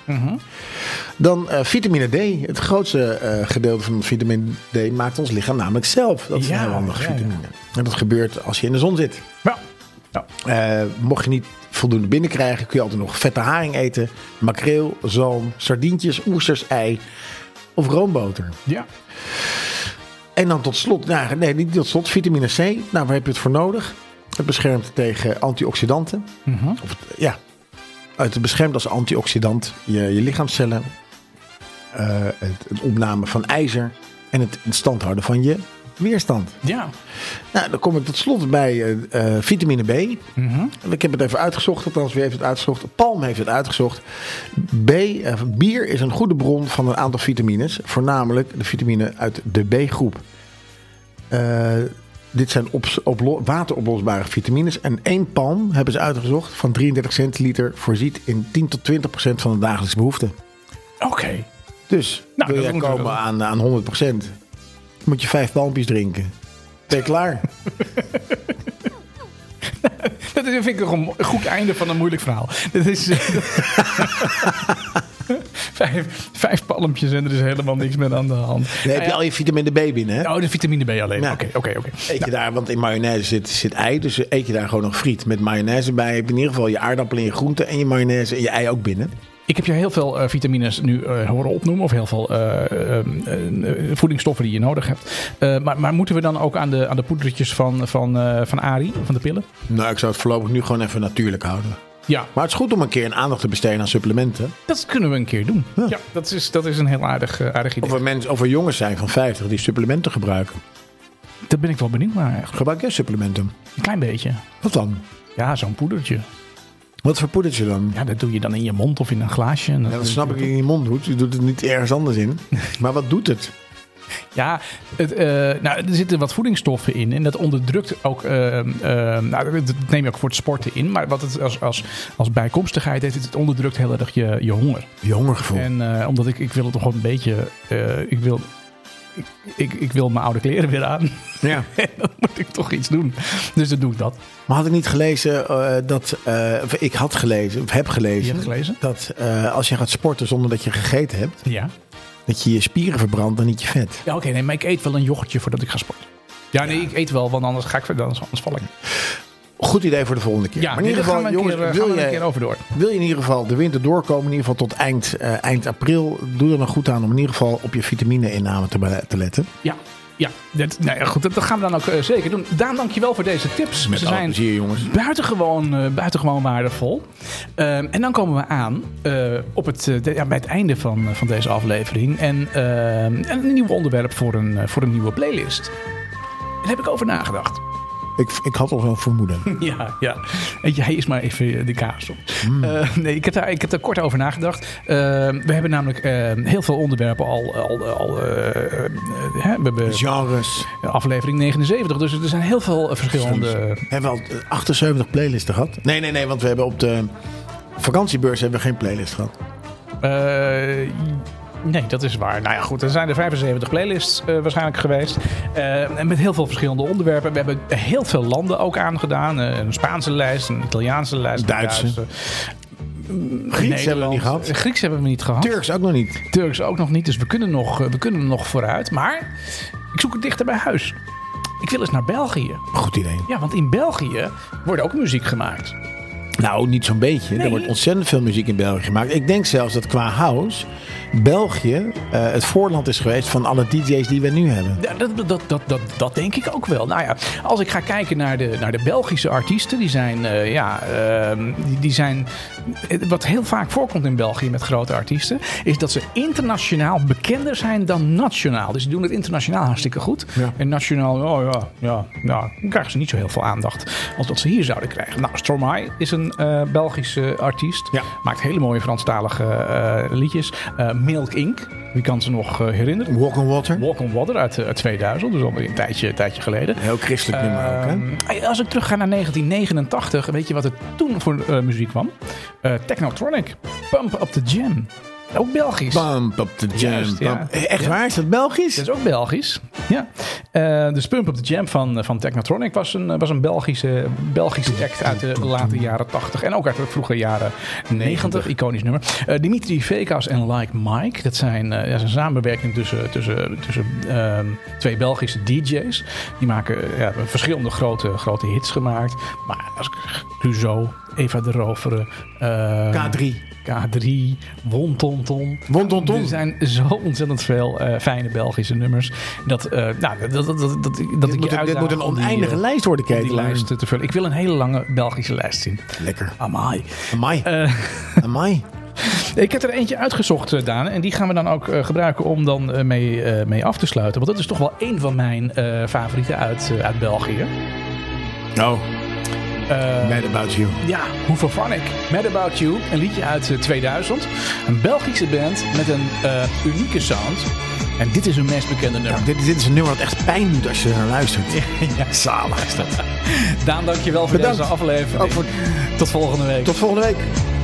Dan eh, vitamine D. Het grootste eh, gedeelte van vitamine D maakt ons lichaam namelijk zelf. Dat is Ja, een heel handige ja, ja. vitamine. En dat gebeurt als je in de zon zit. Ja. Ja. Eh, mocht je niet voldoende binnenkrijgen, kun je altijd nog vette haring eten. Makreel, zalm, sardientjes, oesters, ei of roomboter. ja. En dan tot slot, nou, nee, niet tot slot, vitamine C. Nou, waar heb je het voor nodig? Het beschermt tegen antioxidanten. Of het- ja, het beschermt als antioxidant je, je lichaamscellen. eh, het, het opname van ijzer. En het in stand houden van je weerstand. Ja. Nou, dan kom ik tot slot bij eh, eh, vitamine B. Mhm. Ik heb het even uitgezocht, althans wie heeft het uitgezocht? Palm heeft het uitgezocht. B, eh, bier is een goede bron van een aantal vitamines. Voornamelijk de vitamine uit de B-groep. Eh, dit zijn ops- oplo- wateroplosbare vitamines. En één palm, hebben ze uitgezocht, van 33 centiliter... voorziet in 10 tot 20 procent van de dagelijkse behoeften. Oké. Dus Nou, wil dat jij moeten we komen wel. aan, aan 100%, moet je vijf palmpjes drinken. Ben je klaar? Dat is- vind ik toch een goed einde van een moeilijk verhaal. Dat is, eh, vijf, vijf palmpjes en er is helemaal niks meer aan de hand. Dan heb je al je vitamine B binnen, hè? Oh, de vitamine B alleen. Ja. Oké, oké, oké. Eet je daar, want in mayonaise zit, zit ei, dus eet je daar gewoon nog friet. Met mayonaise bij heb je in ieder geval je aardappelen en je groenten en je mayonaise en je ei ook binnen. Ik heb je heel veel eh, vitamines nu eh, horen opnoemen. Of heel veel eh, ehm, eh, voedingsstoffen die je nodig hebt. Eh, maar, maar moeten we dan ook aan de, aan de poedertjes van, van, eh, van Ari, van de pillen? Nou, ik zou het voorlopig nu gewoon even natuurlijk houden. Ja, Maar het is goed om een keer een aandacht te besteden aan supplementen. dat kunnen we een keer doen. Ja, dat, is, dat is een heel aardig, eh, aardig idee. Of er, mensen, of er jongens zijn van 50 die supplementen gebruiken. Daar ben ik wel benieuwd naar eigenlijk. Gebruik jij supplementen? Een klein beetje. Wat dan? Ja, zo'n poedertje. Wat voor poedertje dan? Ja, dat doe je dan in je mond of in een glaasje. En dat- Ja, dat snap ik in je mond doet. Je doet het niet ergens anders in. Maar wat doet het? Ja, het, eh, nou, er zitten wat voedingsstoffen in. En dat onderdrukt ook. eh, eh, nou, dat neem je ook voor het sporten in. Maar wat het als, als, als bijkomstigheid heeft, is het onderdrukt heel erg je, je honger. Je hongergevoel. En eh, omdat ik, ik wil het toch gewoon een beetje. eh, ik wil. ik- Ik, ik wil mijn oude kleren weer aan. Ja. En dan moet ik toch iets doen. Dus dan doe ik dat. Maar had ik niet gelezen eh, dat... eh, of ik had gelezen, of heb gelezen... Je hebt gelezen? Dat eh, als je gaat sporten zonder dat je gegeten hebt... Ja. dat je je spieren verbrandt en niet je vet. Ja, oké, nee, maar ik eet wel een yoghurtje voordat ik ga sporten. Ja, nee, ik eet wel, want anders ga ik anders, anders val ik. Goed idee voor de volgende keer. Ja, maar in ieder geval, gaan we een, jongens, keer, eh, wil, gaan we je, een keer over door. wil je in ieder geval de winter doorkomen, in ieder geval tot eind, eh, eind april, doe er nog goed aan om in ieder geval op je vitamine-inname te, be- te letten. Ja, ja. Dat, nou ja, goed, dat, dat gaan we dan ook eh, zeker doen. Daan, dankjewel voor deze tips. Met Ze alle zijn plezier, jongens. buitengewoon, eh, buitengewoon waardevol. Ehm, en dan komen we aan eh, op het, eh, de- ja, bij het einde van, eh, van deze aflevering. En ehm, en een nieuw onderwerp voor een, eh, voor een nieuwe playlist. Daar heb ik over nagedacht. Ik, ik had al zo'n vermoeden. Ja, ja. En jij is maar even eh, de kaas op. Hmm. Eh, nee, ik heb, daar, ik heb daar kort over nagedacht. Eh, we hebben namelijk eh, heel veel onderwerpen al. al, al eh, eh, hè, we hebben Genres. aflevering 79. Dus er zijn heel veel eh, verschillende. Hebben we al eh, 78 playlisten gehad? Nee, nee, nee, want we hebben op de vakantiebeurs hebben we geen playlist gehad. eh, nee, dat is waar. Nou ja, goed. Er zijn er 75 playlists eh, waarschijnlijk geweest. Eh, en met heel veel verschillende onderwerpen. We hebben heel veel landen ook aangedaan: Eh, een Spaanse lijst, een Italiaanse lijst, een Duitse. Grieks hebben we Nederland. niet gehad. Grieks hebben we niet gehad. Turks ook nog niet. Turks ook nog niet, dus we kunnen nog, eh, we kunnen nog vooruit. Maar ik zoek het dichter bij huis. Ik wil eens naar België. Goed idee. Ja, want in België wordt ook muziek gemaakt. Nou, niet zo'n beetje. Er wordt ontzettend veel muziek in België gemaakt. Ik denk zelfs dat qua house België eh, het voorland is geweest van alle DJ's die we nu hebben. Ja, Dat, dat, dat, dat, dat denk ik ook wel. Nou ja, als ik ga kijken naar de, naar de Belgische artiesten, die zijn, eh, ja, ehm, die, die zijn. eh, Wat heel vaak voorkomt in België met grote artiesten, is dat ze internationaal bekender zijn dan nationaal. Dus die doen het internationaal hartstikke goed. En nationaal, oh ja, ja, ja, dan krijgen ze niet zo heel veel aandacht als dat ze hier zouden krijgen. Nou, Stromae is een eh, Belgische artiest. Ja. Maakt hele mooie Franstalige eh, liedjes. Eh, Milk Inc., wie kan ze nog eh, herinneren? Walk on Water. Walk on Water uit, eh, uit 2000, dus alweer een tijdje, een tijdje geleden. Heel christelijk nummer ook, hè? Ehm, als ik terugga naar 1989, weet je wat er toen voor eh, muziek kwam? Eh, Technotronic, Pump Up The Jam. Ook Belgisch. Bump up the jam. Juist, ja. bump. Eh, Echt waar? Is dat Belgisch? Dat is ook Belgisch. Ja. Eh, dus Pump Up The Jam van, eh, van Technotronic was een, eh, was een Belgische, Belgische act uit de late jaren 80. En ook uit de vroege jaren 90. Iconisch nummer. Eh, Dimitri Vekas en Like Mike. Dat, zijn, eh, dat is een samenwerking tussen, tussen, tussen ehm, twee Belgische DJ's. Die maken eh, ja, verschillende grote, grote hits gemaakt. Maar als ik Clouseau, Eva de Roveren. eh, K3. K3, Wontonton. Wontonton. Er zijn zo ontzettend veel eh, fijne Belgische nummers. Dat, eh, nou, dat, dat, dat, dat, dat ik Dit moet, je een- dit uitdaag moet een om die, oneindige eh, lijst worden, om die lijst Ah. Keten. te vullen. Ik wil een hele lange Belgische lijst zien. Lekker. Amai. Amai. Eh. Amai. Ik heb er eentje uitgezocht, eh, Daan. En die gaan we dan ook eh, gebruiken om dan eh, mee, eh, mee af te sluiten. Want dat is toch wel één van mijn eh, favorieten uit, eh, uit België. Oh, Nou. Eh, mad about you. Ja, hoeveel van ik? Mad About You, een liedje uit eh, 2000. Een Belgische band met een eh, unieke sound. En dit is hun meest bekende nummer. Dit, dit is een nummer dat echt pijn doet als je naar luistert. Ja, zalig is dat. Daan, dankjewel voor Bedankt. deze aflevering. Ook voor- Tot volgende week. Tot volgende week.